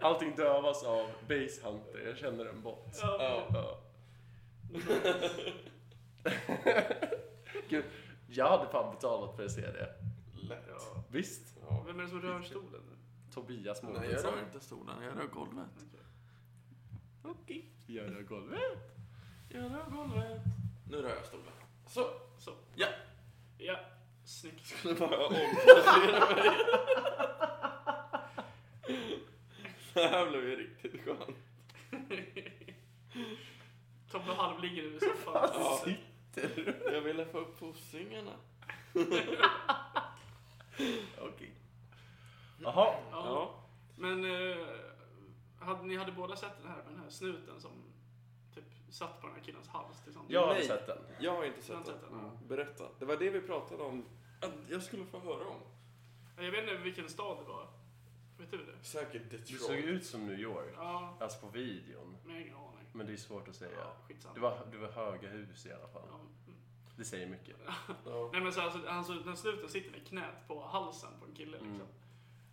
Speaker 3: Allting dövas av Base Hunter, jag känner en bot.
Speaker 1: Ja.
Speaker 3: Ja. Gud, jag hade fan betalat för att se det.
Speaker 2: Lätt.
Speaker 1: Ja.
Speaker 3: Visst?
Speaker 2: Ja.
Speaker 1: Vem är det som rör stolen nu?
Speaker 3: Tobias
Speaker 2: Nej, jag
Speaker 3: Mårtensson.
Speaker 2: rör inte stolen, jag rör golvet.
Speaker 3: Jag rör golvet.
Speaker 2: Jag rör golvet. Nu rör jag stolen. Så.
Speaker 1: Så.
Speaker 2: Ja.
Speaker 1: Ja. Snyggt.
Speaker 2: Skulle bara omplacera mig. Det här blev ju riktigt skönt.
Speaker 1: Tobbe halv ligger nu i soffan.
Speaker 3: Alltså.
Speaker 2: Ja. Jag ville få upp pussingarna.
Speaker 3: Okej. Jaha.
Speaker 1: Ja. Men eh, hade, ni hade båda sett den här, den här snuten som typ satt på den här killens hals tills han
Speaker 3: Jag har
Speaker 2: Nej.
Speaker 3: sett den.
Speaker 2: Jag har inte
Speaker 1: Sen
Speaker 2: sett
Speaker 1: sett
Speaker 2: den.
Speaker 1: den. ja.
Speaker 2: Berätta. Det var det vi pratade om att jag skulle få höra om.
Speaker 1: Jag vet inte vilken stad det var. Vet du det?
Speaker 2: Säkert
Speaker 3: Det såg
Speaker 2: Detroit.
Speaker 3: ut som New York.
Speaker 1: Ja,
Speaker 3: Alltså på videon.
Speaker 1: men jag har ingen aning.
Speaker 3: Men det är svårt att säga.
Speaker 1: Ja, skitsamma.
Speaker 3: Det var, det var höga hus i alla fall.
Speaker 1: Ja, mm.
Speaker 3: Det säger mycket.
Speaker 2: Ja.
Speaker 1: Nej men så alltså, alltså, den snuten sitter med knät på halsen på en kille liksom.
Speaker 3: Mm.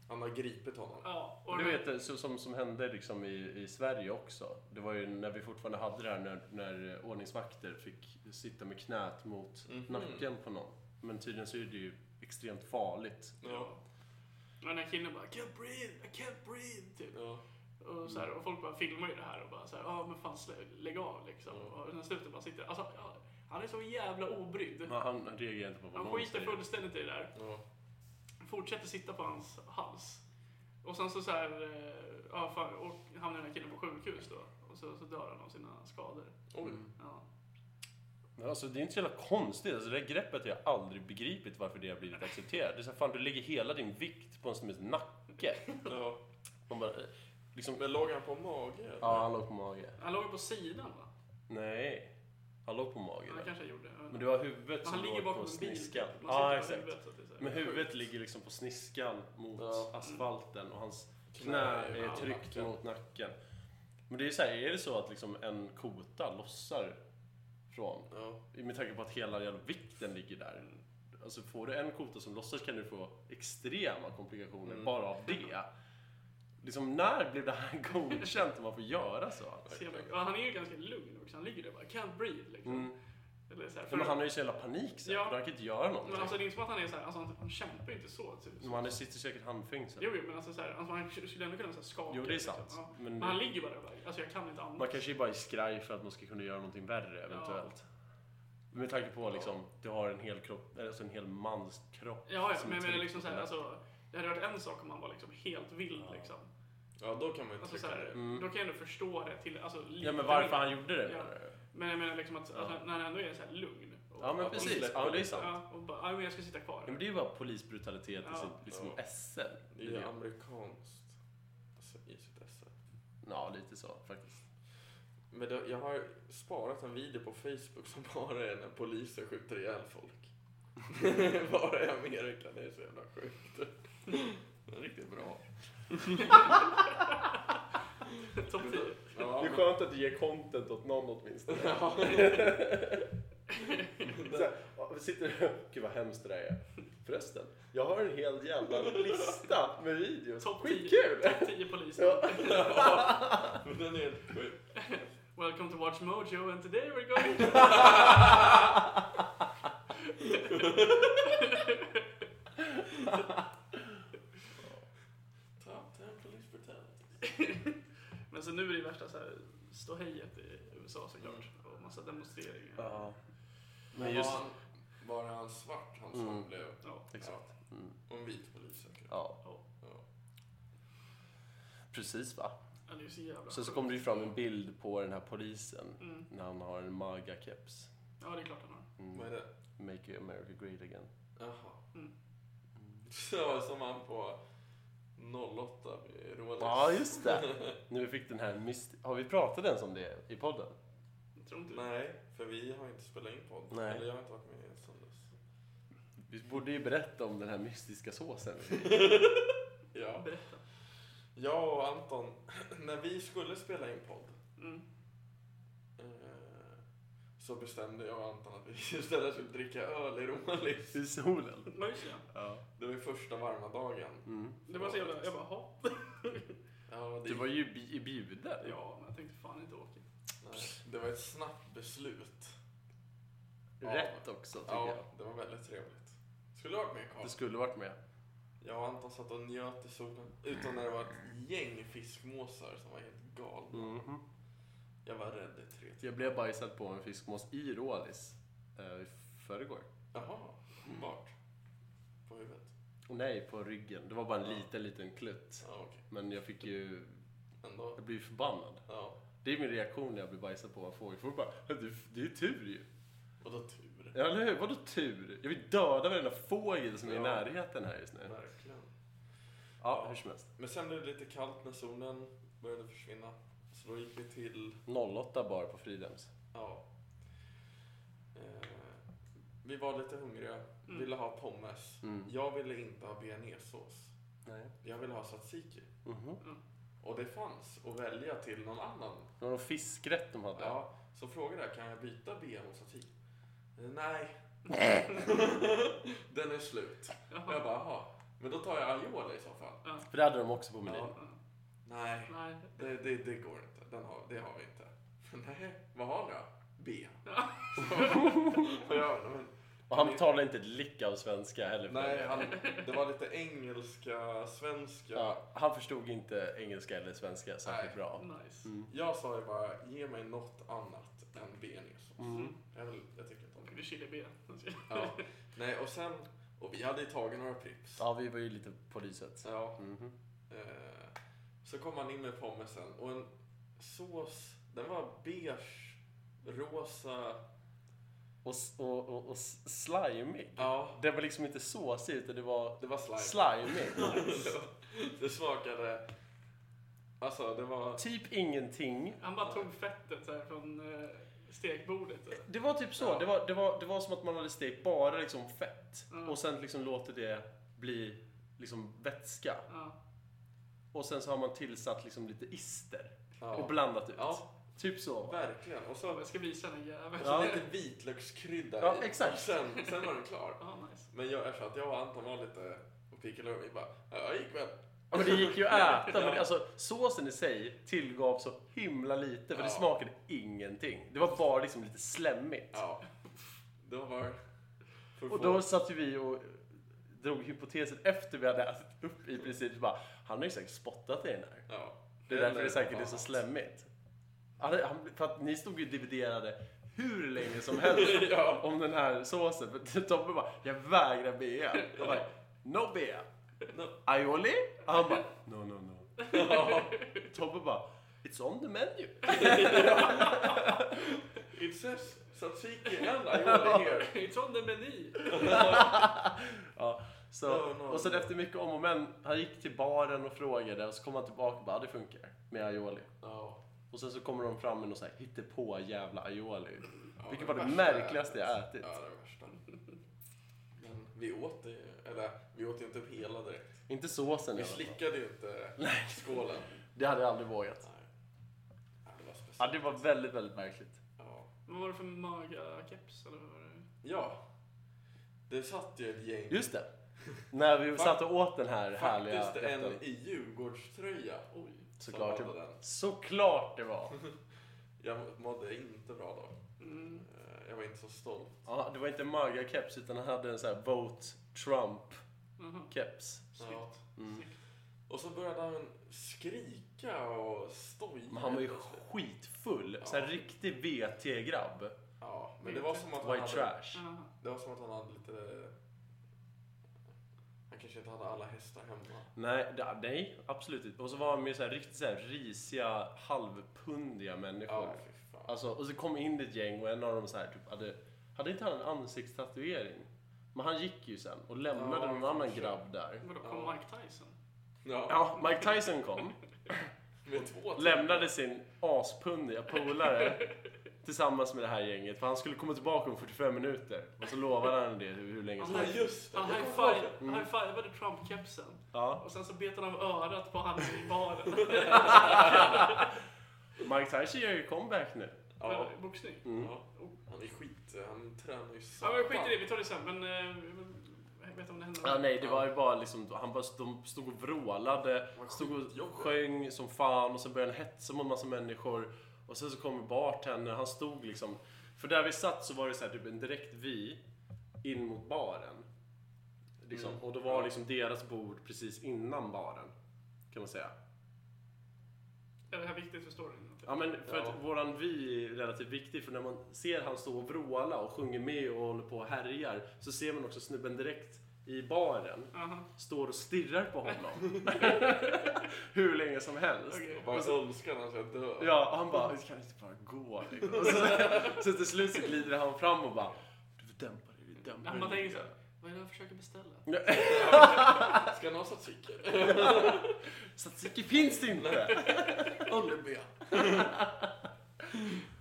Speaker 2: Han har gripit honom.
Speaker 1: Ja,
Speaker 3: Du vet, så, som, som hände liksom i, i Sverige också. Det var ju när vi fortfarande hade det här när, när ordningsvakter fick sitta med knät mot
Speaker 2: Mhm.
Speaker 3: Mm-hmm.
Speaker 1: Mm.
Speaker 3: nacken på någon. Men tydligen så är det ju extremt farligt.
Speaker 1: Ja. Och den här killen bara I can't breathe, I can't breathe typ.
Speaker 2: Ja.
Speaker 1: Och, så här, och folk bara filmar ju det här och bara så här, ja men fan slä- lägg av liksom.
Speaker 3: Mm.
Speaker 2: Ja.
Speaker 1: Och den här snuten bara sitter, alltså ja, han är så jävla obrydd.
Speaker 3: Men han han reagerar inte på vad
Speaker 1: Han
Speaker 3: någon
Speaker 1: skiter
Speaker 3: säger.
Speaker 1: fullständigt i det där.
Speaker 2: Ja.
Speaker 1: fortsätter sitta på hans hals. Och sen så, så här, eh, ja, fan, och hamnar den här killen på sjukhus då. Och så, så dör han av sina skador.
Speaker 2: Oj.
Speaker 3: Mm.
Speaker 1: Ja.
Speaker 3: Men Alltså, det är inte så jävla konstigt. Alltså, det där greppet har jag aldrig begripit varför det har blivit accepterat. Det är så här, fan du lägger hela din vikt på en snubes nacke.
Speaker 2: Ja.
Speaker 3: Man bara, eh, liksom,
Speaker 2: Men låg han på mage? eller?
Speaker 3: ja, han låg på mage.
Speaker 1: Han låg ju på sidan va?
Speaker 3: Nej, han låg på mage.
Speaker 1: Han
Speaker 3: Där.
Speaker 1: kanske gjorde. jag vet
Speaker 3: Men
Speaker 1: inte.
Speaker 3: du har huvudet
Speaker 1: Men
Speaker 3: som
Speaker 1: han ligger
Speaker 3: låg
Speaker 1: bakom
Speaker 3: på
Speaker 1: en bil.
Speaker 3: sniskan.
Speaker 1: Man sitter
Speaker 3: Ja,
Speaker 1: på
Speaker 3: exakt.
Speaker 1: huvudet, så att det är så här.
Speaker 3: Men huvudet ligger liksom på sniskan mot
Speaker 2: Ja.
Speaker 3: asfalten och hans knä
Speaker 2: Knä är
Speaker 3: är
Speaker 1: mot
Speaker 3: tryckt
Speaker 2: nacken.
Speaker 3: mot nacken. Men det är ju så här, är det så att liksom en kota lossar från,
Speaker 2: Ja.
Speaker 3: med tanke på att hela jävla vikten ligger där. Alltså får du en kota som lossar så kan du få extrema komplikationer
Speaker 2: Mm.
Speaker 3: bara av det. Liksom när blev det här godkänt att man får göra så?
Speaker 1: Ser man- ja, han är ju ganska lugn också. Han ligger där bara, can't breathe liksom.
Speaker 3: Mm.
Speaker 1: Eller så här, för,
Speaker 3: Men han har ju så jävla panik sen,
Speaker 1: Ja.
Speaker 3: för han kan inte göra någonting.
Speaker 1: men alltså det är inte som att han är så här, alltså han, han kämpar ju inte så. Typ.
Speaker 3: Men han sitter säkert handfängd sen.
Speaker 1: Jo, jo, men alltså så här, alltså, han skulle ändå kunna så här, skaka.
Speaker 3: Jo, det är sant.
Speaker 1: Liksom. Ja.
Speaker 3: Men
Speaker 1: Men han ligger ju bara där, bara, alltså jag kan inte andas.
Speaker 3: Man kanske är bara i skraj för att man ska kunna göra någonting värre eventuellt. Med tanke på liksom, du har en hel kropp, eller alltså en hel mans kropp.
Speaker 1: Ja, ja
Speaker 3: som är
Speaker 1: men jag menar
Speaker 3: tryckt
Speaker 1: liksom
Speaker 3: på
Speaker 1: såhär,
Speaker 3: den.
Speaker 1: alltså, Det hade varit en sak om han var liksom helt vild
Speaker 3: Ja.
Speaker 1: liksom.
Speaker 2: Ja, då kan man ju
Speaker 1: Alltså, så
Speaker 2: inte trycka
Speaker 1: här,
Speaker 2: det.
Speaker 4: Mm.
Speaker 1: Då kan jag ändå förstå det till alltså, lite
Speaker 3: Ja men varför
Speaker 1: mer.
Speaker 3: han gjorde det
Speaker 1: Ja.
Speaker 3: menar du?
Speaker 1: Men jag menar liksom att alltså,
Speaker 3: Ja.
Speaker 1: när han ändå är så här lugn. Och,
Speaker 3: Ja men
Speaker 1: och-
Speaker 3: precis, ja, men det är sant.
Speaker 1: Ja, och bara, ja, men jag ska sitta kvar.
Speaker 3: Ja, men det är ju bara polisbrutalitet i
Speaker 1: Ja.
Speaker 3: sitt liksom,
Speaker 2: Ja.
Speaker 3: esse.
Speaker 2: Det är ju amerikanskt. Alltså, i sitt esse.
Speaker 3: Ja, lite så faktiskt.
Speaker 2: Men det, jag har sparat en video på Facebook som bara är när poliser skjuter ihjäl folk. bara i Amerika, det är så jävla sjukt. Det är riktigt bra.
Speaker 1: Topp 10.
Speaker 2: Ja, men-
Speaker 4: typ. skönt att du ger content åt någon åtminstone.
Speaker 2: Ja.
Speaker 4: Så här, ja, vi sitter Gud vad hemskt det där är. Förresten, jag har en hel jävla lista med videos.
Speaker 1: Topp 10.
Speaker 4: Skitkul!
Speaker 1: Topp 10 poliser.
Speaker 2: Ja, men den är helt sjuk.
Speaker 1: Welcome to Watch Mojo and today we're going
Speaker 2: Top 10 police brutality.
Speaker 1: Men så nu är det värsta så här ståhejet i USA såklart.
Speaker 3: Mm.
Speaker 1: Och massa demonstreringar.
Speaker 3: Men just...
Speaker 2: Var, han, var det han svart han som
Speaker 3: Mm.
Speaker 2: blev?
Speaker 1: Ja.
Speaker 3: Exakt. Mm.
Speaker 2: Ja, och en vit polis säkert.
Speaker 3: Ja,
Speaker 2: Ja.
Speaker 3: precis va.
Speaker 1: Ja, det är så jävla
Speaker 3: Sen så
Speaker 1: sjukt.
Speaker 3: kommer det ju fram en bild på den här polisen
Speaker 1: Mm.
Speaker 3: när han har en maga-keps.
Speaker 1: Ja, det är klart han har.
Speaker 2: Vad är
Speaker 3: Mm.
Speaker 2: det?
Speaker 3: Make America Great Again.
Speaker 2: Jaha.
Speaker 1: Mm.
Speaker 2: Ja, som han på 08 med Rolex.
Speaker 3: Ja, just det. Nu fick den här myst... Har vi pratat ens om det i podden?
Speaker 1: Jag tror inte
Speaker 2: Nej, för vi har inte spelat in podden.
Speaker 3: Nej.
Speaker 2: Eller jag har inte varit med sen dess.
Speaker 3: Vi borde ju berätta om den här mystiska såsen.
Speaker 2: Ja.
Speaker 1: Berätta.
Speaker 2: Jag och Anton, när vi skulle spela in podd
Speaker 1: Mm.
Speaker 2: eh, så bestämde jag och Anton att vi istället skulle dricka öl i Rolex.
Speaker 3: I solen.
Speaker 1: Ja, just det.
Speaker 3: Ja.
Speaker 2: Det var ju första varma dagen.
Speaker 3: Mm.
Speaker 1: Det var så jävla... Jag bara, ha.
Speaker 2: Ja,
Speaker 3: Du var ju bi- bjuden.
Speaker 1: Ja, men jag tänkte fan inte åka.
Speaker 2: Nej, det var ett snabbt beslut.
Speaker 3: Rätt också, tycker
Speaker 2: Ja,
Speaker 3: jag.
Speaker 2: det var väldigt trevligt. Skulle du ha varit med Karl?
Speaker 3: Du skulle varit med.
Speaker 2: Jag och Anton satt och njöt i solen. Utan när det var ett gäng fiskmåsar som var helt galna.
Speaker 3: Mhm.
Speaker 2: Jag var rädd i tre timmar.
Speaker 3: Jag blev bajsad på en fiskmås i Rålis eh, i förrgår.
Speaker 2: Jaha,
Speaker 3: Mm.
Speaker 2: vart? På huvudet?
Speaker 3: Nej, på ryggen. Det var bara en liten, liten klutt.
Speaker 2: Ja, okej.
Speaker 3: Men jag fick ju...
Speaker 2: Ändå.
Speaker 3: Jag blev ju förbannad.
Speaker 2: Ja,
Speaker 3: Det är min reaktion när jag blir bajsad på en fågel. Folk bara, "Du- det är ju tur ju.
Speaker 2: och då tur.
Speaker 3: Ja, eller hur? Vadå tur? Jag vill döda varenda fågel som är i
Speaker 2: Ja.
Speaker 3: närheten här just nu.
Speaker 2: Verkligen.
Speaker 3: Ja, hur som helst.
Speaker 2: Men sen blev det lite kallt när solen började försvinna. Så då gick vi till,
Speaker 3: 08 bar på Fridhems.
Speaker 2: ja. Eh, vi var lite hungriga,
Speaker 1: Mm.
Speaker 2: ville ha pommes.
Speaker 3: Mm.
Speaker 2: Jag ville inte ha bearnaisesås.
Speaker 3: Nej.
Speaker 2: Jag ville ha tzatziki.
Speaker 3: Mhm.
Speaker 2: Och det fanns att välja till någon annan.
Speaker 3: Det var någon fiskrätt de hade.
Speaker 2: Ja, så frågade jag, kan jag byta BM mot tzatziki? Eh, Nej. Den är slut. Jag
Speaker 1: Jaha.
Speaker 2: bara, jaha. Men då tar jag aioli i så fall.
Speaker 3: För det hade de också på menyn.
Speaker 2: Ja. Nej,
Speaker 1: Nej.
Speaker 2: det, det, det går inte. Den har, det har vi inte. Nej, vad har jag? B.
Speaker 1: Ja.
Speaker 2: Och jag, men,
Speaker 3: Och han talade inte ett lick av svenska heller.
Speaker 2: nej, han, det var lite engelska, svenska.
Speaker 3: ja, han förstod inte engelska eller svenska särskilt
Speaker 2: Nej.
Speaker 3: bra.
Speaker 1: Nice.
Speaker 3: Mm.
Speaker 2: Jag sa ju bara, ge mig något annat än bearnaisesås.
Speaker 3: Mm.
Speaker 2: Jag, vill- jag tycker inte om
Speaker 1: Och
Speaker 2: det.
Speaker 1: Det är chili
Speaker 2: Ja. Nej, och sen, och vi hade ju tagit några Pripps.
Speaker 3: Ja, vi var ju lite på lyset.
Speaker 2: Ja,
Speaker 3: Mhm.
Speaker 2: eh, så kom han in med pommesen och en sås, den var beige, rosa,
Speaker 3: Och, s- och, och, och s- slimig.
Speaker 2: ja,
Speaker 3: Det var liksom inte såsig, utan det var
Speaker 2: det var slime.
Speaker 3: slimig.
Speaker 2: det smakade... Alltså, det var...
Speaker 3: typ ingenting.
Speaker 1: Han bara tog fettet så här från eh, stekbordet. så här.
Speaker 3: Det var typ så.
Speaker 2: Ja.
Speaker 3: Det, var, det, var, det var som att man hade stekt bara liksom fett
Speaker 1: Mm.
Speaker 3: och sen liksom låter det bli liksom vätska.
Speaker 1: Ja.
Speaker 3: Och sen så har man tillsatt liksom lite ister och
Speaker 2: Ja,
Speaker 3: blandat ut.
Speaker 2: Ja.
Speaker 3: Typ så.
Speaker 2: verkligen. Och så,
Speaker 1: Jag ska visa den jäveln.
Speaker 2: så
Speaker 3: Ja. typ-
Speaker 2: lite vitlökskrydda
Speaker 3: Ja,
Speaker 2: i.
Speaker 3: exakt.
Speaker 2: Och Sen, sen var den klar.
Speaker 1: Ja, nice.
Speaker 2: Men jag, eftersom att jag och Anton var lite och pickelade och vi bara, ja, jag gick väl.
Speaker 3: Ja, men det gick ju att äta. Men alltså, såsen i sig tillgav så himla lite för
Speaker 2: Ja.
Speaker 3: det smakade ingenting. Det var bara liksom lite slemmigt.
Speaker 2: Ja. Det var... För
Speaker 3: Och då satt ju vi och drog hypotesen efter vi hade ätit upp i princip bara han har ju säkert spottat i den här.
Speaker 2: Ja.
Speaker 3: Det är därför
Speaker 2: Eller
Speaker 3: det säkert är
Speaker 2: annat.
Speaker 3: så slemmigt. Han, han, för att ni stod ju och dividerade hur länge som helst
Speaker 2: ja.
Speaker 3: om den här såsen. För Tobbe bara, jag vägrar bea. Jag bara, no bea. Aioli? Och han bara, no, no, no. Tobbe bara, it's on the menu.
Speaker 2: It says tzatziki and aioli here.
Speaker 1: It's on the meny.
Speaker 3: Ja, så,
Speaker 2: No, no,
Speaker 3: och sen
Speaker 2: no.
Speaker 3: efter mycket om och men, han gick till baren och frågade och så kom han tillbaka och bara, "Ah, det funkar med aioli.
Speaker 2: Ja.
Speaker 3: Och sen så kommer de fram med någon sån här hittepå jävla aioli.
Speaker 2: Ja,
Speaker 3: Vilket
Speaker 2: det
Speaker 3: var det
Speaker 2: värsta-
Speaker 3: märkligaste jag ätit.
Speaker 2: Ja, det är det värsta. Men vi åt det ju, eller vi åt ju inte upp hela direkt.
Speaker 3: Inte såsen i
Speaker 2: Vi
Speaker 3: alla fall.
Speaker 2: slickade ju inte skålen.
Speaker 3: Det hade jag aldrig vågat.
Speaker 2: Nej. Ja, det var
Speaker 3: Ja,
Speaker 2: speciellt.
Speaker 3: det var väldigt, väldigt märkligt.
Speaker 2: Ja.
Speaker 1: Vad var det för maga-keps? Eller vad var det?
Speaker 2: ja. Det satt ju ett gäng.
Speaker 3: Just det. När vi
Speaker 2: Fakt-
Speaker 3: satt och åt den här härliga
Speaker 2: Faktiskt en
Speaker 3: rätten.
Speaker 2: i Djurgårdströja.
Speaker 1: Oj.
Speaker 3: Såklart
Speaker 2: som hade
Speaker 3: det,
Speaker 2: den.
Speaker 3: såklart det var.
Speaker 2: Jag mådde inte bra då.
Speaker 1: Mm.
Speaker 2: Eh, Jag var inte så stolt.
Speaker 3: Ja, det var inte Maga-keps utan han hade en sån här Vote Trump-keps.
Speaker 1: Jaha. Snyggt.
Speaker 2: Ja.
Speaker 3: Mm.
Speaker 1: Snyggt.
Speaker 2: Och så började han skrika och stoja.
Speaker 3: Men han var ju
Speaker 2: plötsligt.
Speaker 3: skitfull. Sån här
Speaker 2: Ja.
Speaker 3: riktig VT-grabb.
Speaker 2: Ja, men det var som att han
Speaker 3: White
Speaker 2: hade,
Speaker 3: trash.
Speaker 1: Jaha.
Speaker 2: det var som att han hade lite... Han kanske inte hade alla hästar hemma.
Speaker 3: Nej, det, nej, absolut inte. Och så var han med så här riktigt så här risiga, halvpundiga människor.
Speaker 2: Ja, fy fan.
Speaker 3: Alltså, och så kom in ett gäng och en av dem så här, typ, hade, hade inte han en ansiktstatuering? Men han gick ju sen och lämnade
Speaker 2: Ja,
Speaker 3: någon annan
Speaker 2: kanske.
Speaker 3: grabb där.
Speaker 1: Vadå, kom
Speaker 2: Ja.
Speaker 1: Mike Tyson?
Speaker 2: ja,
Speaker 3: Ja, Mike Tyson kom,
Speaker 2: med två till.
Speaker 3: lämnade sin aspundiga polare tillsammans med det här gänget för han skulle komma tillbaka om 45 minuter. Och så lovade han det hur, hur länge som
Speaker 2: Ja,
Speaker 3: helst.
Speaker 2: just det.
Speaker 1: Han
Speaker 2: Jag kommer ihåg
Speaker 1: high-five-
Speaker 3: Mm.
Speaker 1: high-fivade Trump-kepsen.
Speaker 3: Ja.
Speaker 1: Och sen så bet han av örat på han i baren.
Speaker 3: Mike Tyson gör ju comeback nu.
Speaker 2: Ja.
Speaker 1: Men, Boxning.
Speaker 3: Mm.
Speaker 2: Ja. Han är skit, han tränar ju
Speaker 1: Ja men skit i det,
Speaker 2: det.
Speaker 1: vi tar det sen. Men eh, jag vet om det händer.
Speaker 3: Ja, nej, det var ju bara liksom, han bara, de stod och vrålade,
Speaker 2: Vad
Speaker 3: stod och
Speaker 2: skitjobbigt.
Speaker 3: sjöng som fan och sen började han hetsa mot en massa människor. Och sen så kom bartendern, han stod liksom, för där vi satt så var det så här, typ en direkt vi in mot baren. Liksom.
Speaker 2: Mm.
Speaker 3: Och då var liksom deras bord precis innan baren, kan man säga.
Speaker 1: Är det här viktigt för storyn?
Speaker 3: Ja men för
Speaker 2: Ja.
Speaker 3: att våran vy är relativt viktig för när man ser han stå och vråla och sjunger med och håller på och härjar så ser man också snubben direkt i baren
Speaker 1: Aha,
Speaker 3: står och stirrar på honom. Hur länge som helst.
Speaker 1: okej.
Speaker 2: Vad önskar han sig att dö.
Speaker 3: Ja, och han bara, det kan inte bara gå liksom. Och så, så till slut så glider han fram och bara, du får dämpa dig, du
Speaker 1: Ja,
Speaker 3: dämpar
Speaker 1: Man
Speaker 3: dig.
Speaker 1: tänker såhär, vad är det jag försöker beställa?
Speaker 2: Ska han ha tzatziki?
Speaker 3: Tzatziki finns det inte!
Speaker 2: Olivia.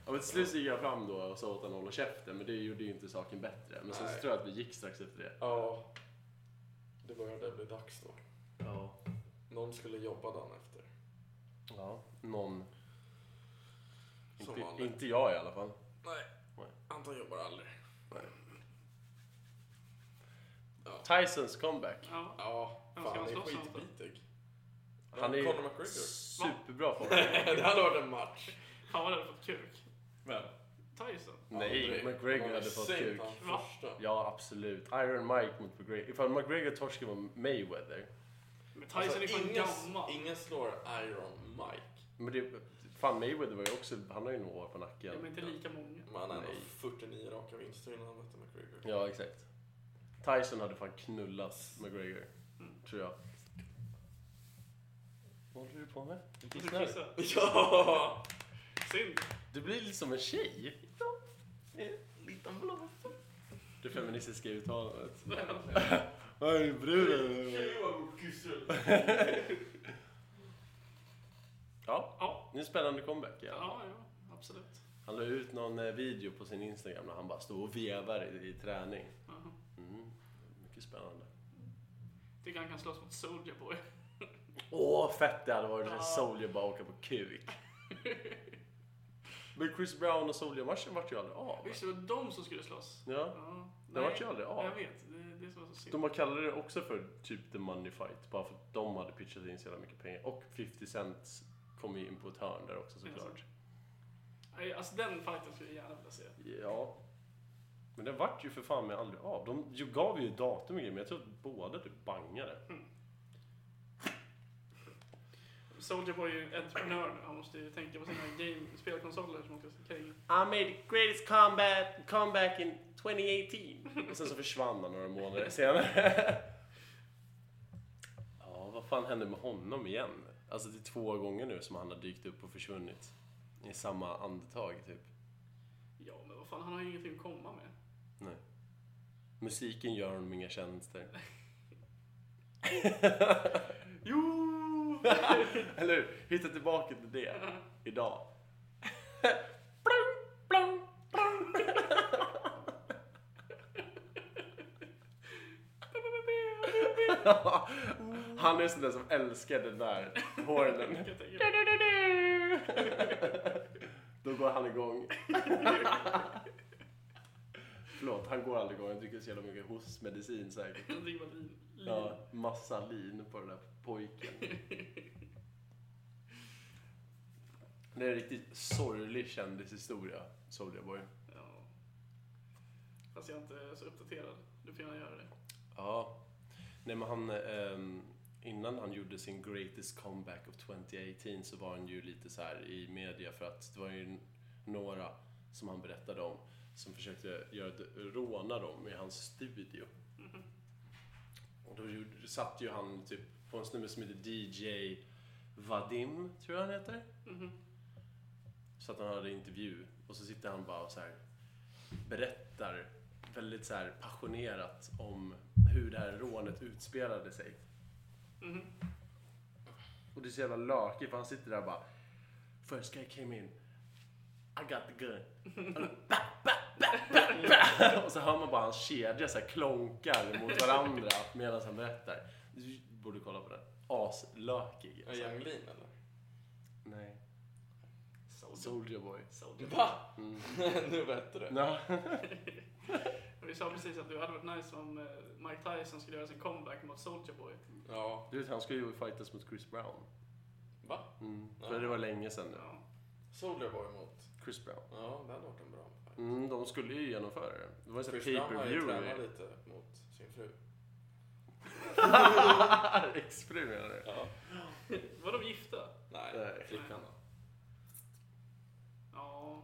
Speaker 3: Ja, men till slut så gick jag fram då och sa åt honom att hålla käften, men det gjorde ju inte saken bättre. Men sen så
Speaker 2: Nej.
Speaker 3: tror jag att vi gick strax efter det.
Speaker 2: Ja. Det började bli dags då.
Speaker 3: Ja.
Speaker 2: Någon skulle jobba dagen efter.
Speaker 3: ja. Någon.
Speaker 2: Som
Speaker 3: Inte,
Speaker 2: vanligt.
Speaker 3: inte jag i alla fall.
Speaker 2: Nej.
Speaker 3: Nej.
Speaker 2: Anton jobbar aldrig.
Speaker 3: Nej.
Speaker 2: Ja.
Speaker 3: Tysons comeback.
Speaker 1: Ja.
Speaker 2: Ja,
Speaker 1: Vem
Speaker 2: fan
Speaker 1: ska
Speaker 2: han
Speaker 1: man
Speaker 2: är
Speaker 1: slåss mot då?
Speaker 2: skitbitig.
Speaker 3: Han är
Speaker 2: Conor McGregor.
Speaker 3: superbra form.
Speaker 2: det hade varit en match.
Speaker 1: Fan vad det hade fått kuk.
Speaker 2: Men.
Speaker 1: Tyson.
Speaker 3: Nej, McGregor hade fått kuk.
Speaker 1: Va?
Speaker 2: Första.
Speaker 3: Ja, absolut. Iron Mike mot McGregor. Ifall McGregor torskar mot Mayweather.
Speaker 1: Men Tyson
Speaker 2: Alltså,
Speaker 1: är fan
Speaker 2: ingen,
Speaker 1: gammal.
Speaker 2: ingen slår Iron Mike.
Speaker 3: Men det, fan Mayweather var ju också, han har ju några år
Speaker 1: Ja,
Speaker 3: på nacken.
Speaker 1: men inte lika många.
Speaker 2: Men han hade
Speaker 3: Nej.
Speaker 2: 49 raka vinster innan han mötte McGregor.
Speaker 3: Ja, exakt. Tyson hade fan knullat McGregor.
Speaker 1: Mm.
Speaker 3: Tror jag. Vad håller du på med? Du
Speaker 1: Du
Speaker 3: kissar.
Speaker 1: kissar.
Speaker 2: Ja!
Speaker 1: Synd.
Speaker 3: Du blir lite som en tjej. Liten blå. Det feministiska uttalandet. Hej bruden. Ja,
Speaker 1: Ja.
Speaker 3: det är en spännande comeback. Ja.
Speaker 1: Ja, ja. Absolut.
Speaker 3: Han la ut någon eh, video på sin Instagram när han bara står och vevar i, i träning.
Speaker 1: Jaha.
Speaker 3: Mm. Mycket spännande.
Speaker 1: Tycker han kan slåss mot Soldier Boy.
Speaker 3: Åh, fett det hade varit när
Speaker 1: Ja.
Speaker 3: Soldier bara åker på kuk. Men Chris Brown och Soldier-matchen vart ju aldrig av.
Speaker 1: Visst, det var de som skulle slåss?
Speaker 3: Ja,
Speaker 1: Ja.
Speaker 3: den vart ju aldrig
Speaker 1: Ja. Jag
Speaker 3: av.
Speaker 1: vet. Det, det är som var så synd.
Speaker 3: De har kallat det också för typ the money fight, bara för att de hade pitchat in så jävla mycket pengar. Och 50 Cent kom ju in på ett hörn där också såklart.
Speaker 1: Nej, Alltså den fighten skulle jag gärna vilja se.
Speaker 3: Ja. Men den vart ju för fan mig aldrig av. De ju- gav ju datum och grejer, men jag tror att båda typ bangade.
Speaker 1: Soldier Boy är ju en entreprenör nu. Han måste ju tänka på sina game, spelkonsoler som åker omkring.
Speaker 3: I made the greatest combat, comeback in 2018. Och sen så försvann han några månader senare. vad fan hände med honom igen? Alltså det är två gånger nu som han har dykt upp och försvunnit. I samma andetag typ.
Speaker 1: Ja, men vad fan, han har ju ingenting att komma med.
Speaker 3: Nej. Musiken gör honom inga tjänster.
Speaker 1: Jo!
Speaker 3: Eller hur? Hitta tillbaka till det idag. Han är sån där som älskar den där hornen.
Speaker 1: Jag tänker-
Speaker 3: Då går han igång. Förlåt, han går aldrig igång. Han dricker så jävla mycket hostmedicin säkert.
Speaker 1: jag tänker bara lin. lin.
Speaker 3: Ja, massa lin på den där pojken. Det är en riktigt sorglig kändishistoria, Soldier Boy.
Speaker 1: Ja. Fast jag är inte så uppdaterad. Du får gärna göra det.
Speaker 3: Ja. Nej, men han, ehm, innan han gjorde sin greatest comeback of 2018 så var han ju lite så här i media för att det var ju n- några som han berättade om som försökte göra, ett- råna dem i hans studio. Och då gjorde, satt ju han typ på en snubbe som heter DJ Vadim, tror jag han heter.
Speaker 1: Mhm.
Speaker 3: Så att han hade intervju och så sitter han bara och så här berättar väldigt så här passionerat om hur det här rånet utspelade sig. Mm-hmm.
Speaker 1: Mhm.
Speaker 3: Och det är så jävla lökigt för han sitter där och bara First guy came in I got the gun Och då, ba, ba, ba, ba, ba. Och så hör man bara hans kedja så här klonkar mot varandra medan han berättar. Du borde kolla på den. Aslökig. alltså.
Speaker 2: Är Yang Lean eller?
Speaker 3: Nej.
Speaker 1: Soldier.
Speaker 3: Soldier boy.
Speaker 1: Soldier.
Speaker 2: Va?
Speaker 3: Mm.
Speaker 2: nu vet du det.
Speaker 3: Ja.
Speaker 1: Vi sa precis att det hade varit nice om eh, Mike Tyson skulle göra sin comeback mot Soldier Boy.
Speaker 2: Mm. Ja.
Speaker 3: Du vet, han skulle ju fightas mot Chris Brown.
Speaker 2: Va?
Speaker 3: Mm.
Speaker 2: Ja.
Speaker 3: För det var länge sedan nu.
Speaker 1: Ja.
Speaker 2: Soldier Boy emot.
Speaker 3: Chris Brown.
Speaker 2: Ja, det hade varit en bra fight.
Speaker 3: Mm, de skulle ju genomföra det. Det var ju så här
Speaker 2: Chris Brown har ju
Speaker 3: pay-per-view.
Speaker 2: tränat lite mot sin fru.
Speaker 3: Exfru menar du?
Speaker 2: Ja.
Speaker 1: Var de gifta?
Speaker 2: Nej,
Speaker 3: Nej.
Speaker 2: flickan
Speaker 1: Ja.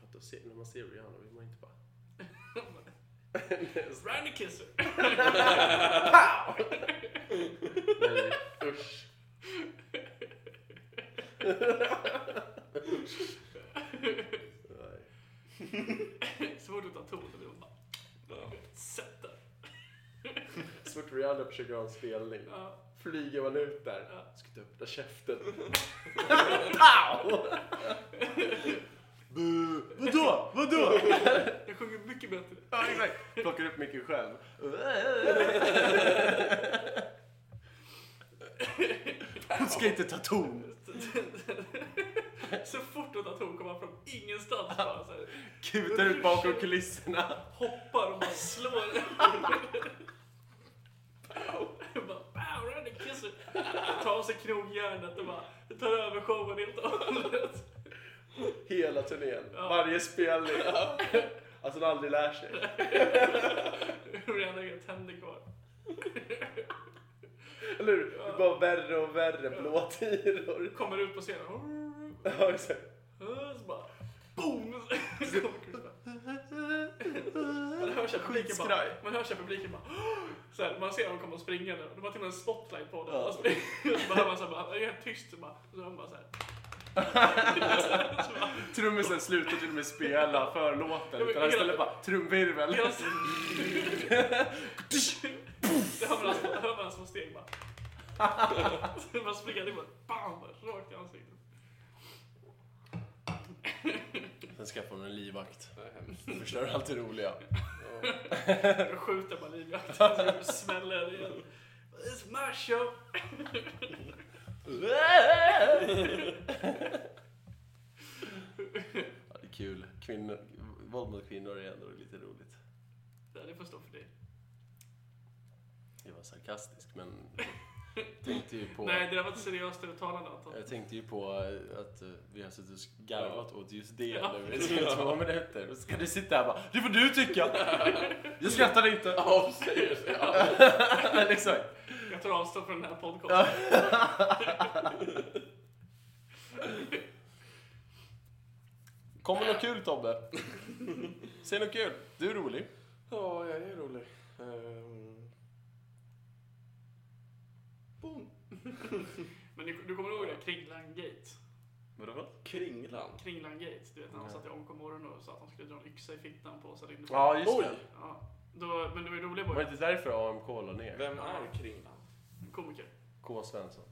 Speaker 3: För att då se, när man ser Rihanna vill man inte bara...
Speaker 1: Randy Kisser!
Speaker 3: Nej, usch. Nej.
Speaker 1: Så fort du tar ton så blir de bara sätta.
Speaker 3: Så fort Rihanna försöker ha en spelning
Speaker 1: Ja.
Speaker 3: flyger man ut där.
Speaker 1: Ja.
Speaker 3: Ska inte öppna käften. Vadå? Vadå?
Speaker 1: Jag sjunger mycket bättre.
Speaker 3: Ja, exakt. Plockar upp mycket själv. Hon ska inte ta ton.
Speaker 1: Så fort du tar ton kommer han från ingenstans bara så här,
Speaker 3: Kutar ut bakom kulisserna.
Speaker 1: hoppar och bara slår. Jag bara, Wow, Randy Kisser! Tar av sig knogjärnet och bara tar över showen helt och hållet.
Speaker 3: Hela turnén. Varje spelning. Att hon aldrig lär sig.
Speaker 1: Rihanna har inga tänder kvar.
Speaker 3: Eller hur? Det är bara värre och värre blåtiror.
Speaker 1: Kommer ut på scenen.
Speaker 3: Ja, exakt.
Speaker 1: Så bara boom! Så kommer Chris Brown. Man hör sig publiken bara,
Speaker 3: Skitskraj.
Speaker 1: man hör sig publiken bara så här, man ser dem komma springande och de har till och med en spotlight på dem.
Speaker 3: Ja.
Speaker 1: Och så hör man så här, bara, det är helt tyst så bara, och så hör man bara så här.
Speaker 3: Trummisen slutar till och med spela förlåten. Utan han ställer bara trumvirvel.
Speaker 1: Hela, det hör man hans, hör man hans små steg bara. Så man springer det bara, bam, bara, rakt i ansiktet.
Speaker 3: Sen skaffar hon en livvakt.
Speaker 2: Det är hemskt.
Speaker 3: Förstör allt det roliga.
Speaker 2: Ja.
Speaker 1: Jag skjuter bara livvakten så det smäller igen. It's my show!
Speaker 3: Ja, det är kul. Kvinnor, våld mot kvinnor är ändå lite roligt.
Speaker 1: Ja, Det får stå för dig.
Speaker 3: Jag var sarkastisk, men jag tänkte ju på,
Speaker 1: Nej, det där var ett seriöst uttalande Anton.
Speaker 3: jag tänkte ju på eh, att eh, vi har suttit och garvat åt just det
Speaker 1: Ja.
Speaker 3: nu i två minuter. Och ska du sitta här och bara, det får du tycka! Jag skrattar inte!
Speaker 2: Ja, seriöst. Ja.
Speaker 3: Exakt.
Speaker 1: Jag tar avstånd från den här podcasten.
Speaker 3: Kommer något kul Tobbe? Säg något kul. Du är rolig.
Speaker 2: ja,
Speaker 3: Ehm.
Speaker 2: jag är rolig. Um... Boom.
Speaker 1: Men du, du kommer ihåg det? Kringlan Gate.
Speaker 3: Vadå? vad?
Speaker 2: Kringlan.
Speaker 1: Kringlan Gate. Du vet när han
Speaker 3: Nej.
Speaker 1: satt i omkommorgon och sa att han skulle dra en yxa i fittan på sig. ringde på.
Speaker 3: Ja, just
Speaker 2: Oj!
Speaker 3: det.
Speaker 1: Ja. Då, men det var ju roligt
Speaker 3: Var det
Speaker 1: bara.
Speaker 3: inte därför AMK la ner?
Speaker 2: Vem är Kringlan?
Speaker 1: Komiker.
Speaker 3: K. Svensson.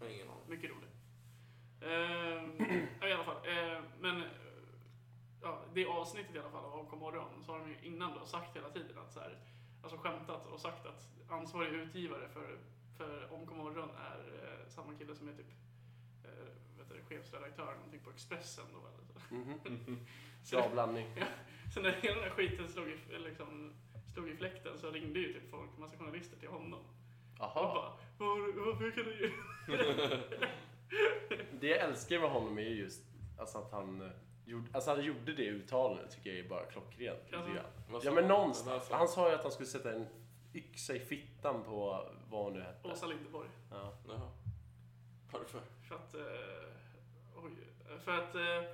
Speaker 2: Jag har ingen aning.
Speaker 1: Mycket rolig. Ehm, ja, I alla fall. Ehm, men eh, ja, det avsnittet i alla fall av Avkom morgon så har de ju innan då sagt hela tiden att så här, alltså skämtat och sagt att ansvarig utgivare för, för Omkom morgon är eh, samma kille som är typ eh, vet du, chefredaktör eller någonting på Expressen då eller så.
Speaker 3: Mhm.
Speaker 1: Så
Speaker 3: Bra blandning.
Speaker 1: Så när hela den här skiten slog i, eller liksom, slog i fläkten så ringde ju typ folk, massa journalister till honom. Och
Speaker 3: Aha.
Speaker 1: bara, "Var- varför kan du...
Speaker 3: Det jag älskar med honom är just alltså att han eh, gjorde, alltså han gjorde det uttalandet tycker jag är bara klockrent.
Speaker 1: Ja.
Speaker 3: lite grann.
Speaker 2: Vad sa
Speaker 3: Ja men
Speaker 2: han?
Speaker 3: någonstans.
Speaker 2: Vad sa han?
Speaker 3: Han sa ju att han skulle sätta en yxa i fittan på vad hon nu hette.
Speaker 1: Åsa Linderborg.
Speaker 3: Ja.
Speaker 2: Jaha. Varför?
Speaker 1: För att, eh, oj, för att eh,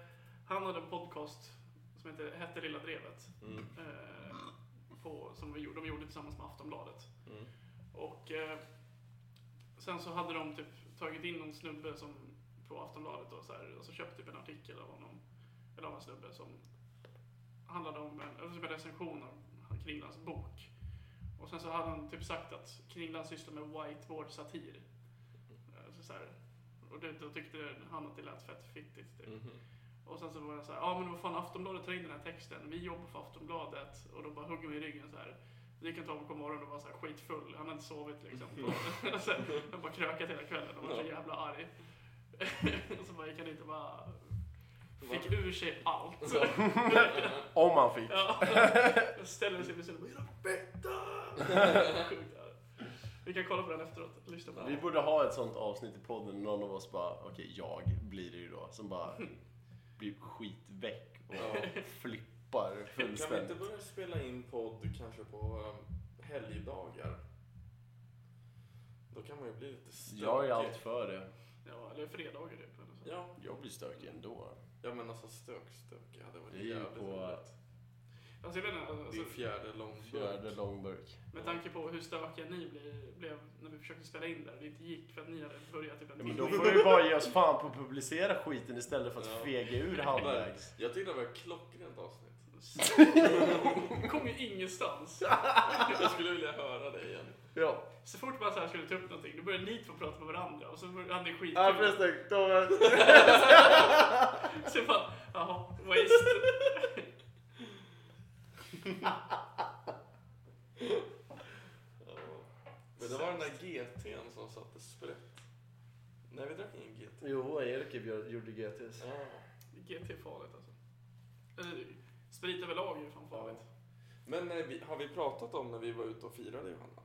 Speaker 1: han hade en podcast som heter, hette Lilla Drevet.
Speaker 2: Mm.
Speaker 1: Eh, på, som vi, gjorde- de gjorde tillsammans med Aftonbladet.
Speaker 2: Mm.
Speaker 1: Och eh, sen så hade de typ tagit in någon snubbe som, på Aftonbladet och så här, och så köpte typ en artikel av honom. Eller av en snubbe som handlade om en, eller typ en recension av Kringlands bok. Och sen så hade han typ sagt att Kringland sysslar med whiteboard-satir. Eh, Så så här, och det, då tyckte han att det lät fett fittigt. Typ.
Speaker 2: Mhm.
Speaker 1: Och sen så var jag så här, ja men vad fan Aftonbladet tar in den här texten, vi jobbar för Aftonbladet. Och då bara hugger mig i ryggen så här. Vi kan ta på morgonen och vara så här skitfull, han har inte sovit liksom. Och sen, han bara krökat hela kvällen och var så
Speaker 2: Ja.
Speaker 1: jävla arg. och så bara gick han dit och bara fick ur sig allt.
Speaker 3: Om han fick.
Speaker 1: ja. Jag ställer sig vid sidan och bara, "Era bättre!" Sjukt arg. Vi kan kolla på den efteråt, lyssna på
Speaker 3: Vi
Speaker 1: den.
Speaker 3: borde ha ett sånt avsnitt i podden någon av oss bara, okej jag blir det ju då, som bara blir skitväck och
Speaker 2: Ja.
Speaker 3: flippar
Speaker 2: Kan vi inte
Speaker 3: fullständigt.
Speaker 2: börja spela in podd kanske på um, helgdagar? Då kan man ju bli lite stökig.
Speaker 3: Jag är allt för det.
Speaker 1: Ja, eller fredagar typ. eller så.
Speaker 2: Ja,
Speaker 3: Jag blir stökig ändå.
Speaker 2: ja men alltså stök, stök. Ja, det var
Speaker 3: Det är ju
Speaker 2: jävligt
Speaker 3: på-
Speaker 2: roligt.
Speaker 1: Alltså, jag vet inte,
Speaker 2: Det är
Speaker 1: alltså,
Speaker 2: fjärde långburk.
Speaker 3: Fjärde långburk.
Speaker 1: Med tanke på hur stökiga ni blev, blev när vi försökte spela in där och det inte gick för att ni hade börjat typ en
Speaker 3: Ja, men
Speaker 1: timme
Speaker 3: då
Speaker 1: innan.
Speaker 3: får vi bara ge oss fan på att publicera skiten istället för
Speaker 2: Ja.
Speaker 3: att fega ur halvvägs.
Speaker 2: Jag tyckte det var ett klockrent avsnitt.
Speaker 1: Vi kom ju ingenstans.
Speaker 2: Jag skulle vilja höra det igen.
Speaker 3: Ja,
Speaker 1: Så fort man så här skulle ta upp någonting, då började ni två prata med varandra och så hade ni skitkul.
Speaker 3: ja förresten. Då var...
Speaker 1: så jag bara, jaha, waste.
Speaker 2: Men det var den där GT'n som satte sprätt. Nej, vi drack ingen GT.
Speaker 3: Jo, Erik bjöd- gjorde GTS.
Speaker 2: Ah.
Speaker 1: GT är farligt alltså. Eller, sprit överlag är ju fan farligt.
Speaker 2: Men eh, vi, har vi pratat om när vi var ute och firade Johanna?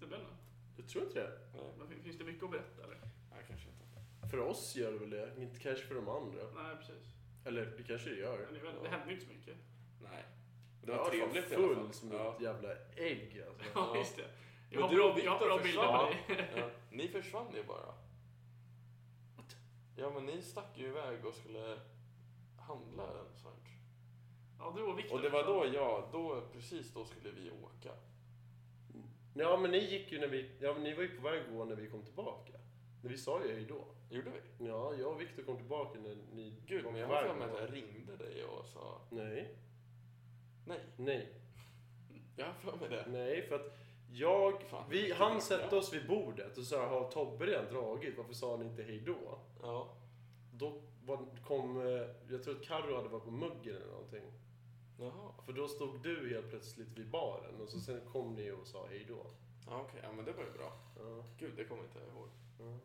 Speaker 1: Det vet inte.
Speaker 3: Jag tror inte det.
Speaker 2: Nej,
Speaker 1: Men fin- Finns det mycket att berätta eller?
Speaker 2: nej kanske inte.
Speaker 3: För oss gör det väl det, inte kanske för de andra.
Speaker 1: Nej, precis.
Speaker 3: Eller det kanske det gör.
Speaker 1: Men det, är väl- det hände ju inte så mycket.
Speaker 2: Nej. Det
Speaker 3: Jag
Speaker 2: var
Speaker 3: var
Speaker 2: trevligt i
Speaker 3: fan
Speaker 2: alla
Speaker 3: full
Speaker 2: fall.
Speaker 3: som
Speaker 2: Ja.
Speaker 3: ett jävla ägg alltså.
Speaker 1: Ja,
Speaker 2: Ja.
Speaker 1: just det. Jag
Speaker 2: Men
Speaker 1: har
Speaker 2: du och
Speaker 1: bra- jag har
Speaker 2: Viktor
Speaker 1: bra bilder på
Speaker 2: försvann.
Speaker 1: dig.
Speaker 2: Ja, ni försvann ju bara. Ja, men ni stack ju iväg och skulle handla eller sånt.
Speaker 1: Ja, du och Viktor.
Speaker 2: Och det var då jag, då, precis då skulle vi åka.
Speaker 3: Ja men ni gick ju när vi, ja men ni var ju på väg att gå när vi kom tillbaka. När vi sa ju hej då.
Speaker 2: Gjorde vi?
Speaker 3: Ja, jag och Viktor kom tillbaka när ni
Speaker 2: Gud,
Speaker 3: var
Speaker 2: men jag
Speaker 3: på
Speaker 2: har
Speaker 3: väg
Speaker 2: för mig
Speaker 3: att
Speaker 2: att
Speaker 3: gå.
Speaker 2: jag ringde dig och sa
Speaker 3: Nej,
Speaker 2: nej.
Speaker 3: nej,
Speaker 2: Jag har för mig det.
Speaker 3: nej för att jag,
Speaker 2: Fan,
Speaker 3: vi,
Speaker 2: vilken
Speaker 3: han
Speaker 2: jävla-
Speaker 3: sätter oss vid bordet och sa har Tobbe redan dragit, varför sa ni inte hej då?
Speaker 2: Ja.
Speaker 3: Då var, kom, eh, jag tror att Carro hade varit på muggen eller någonting.
Speaker 2: Jaha.
Speaker 3: För då stod du helt plötsligt vid baren och så sen kom ni och sa hej då.
Speaker 2: Ja, okej. Ja, men det var ju bra.
Speaker 3: Ja,
Speaker 2: Gud, det kommer inte jag ihåg.
Speaker 3: ja.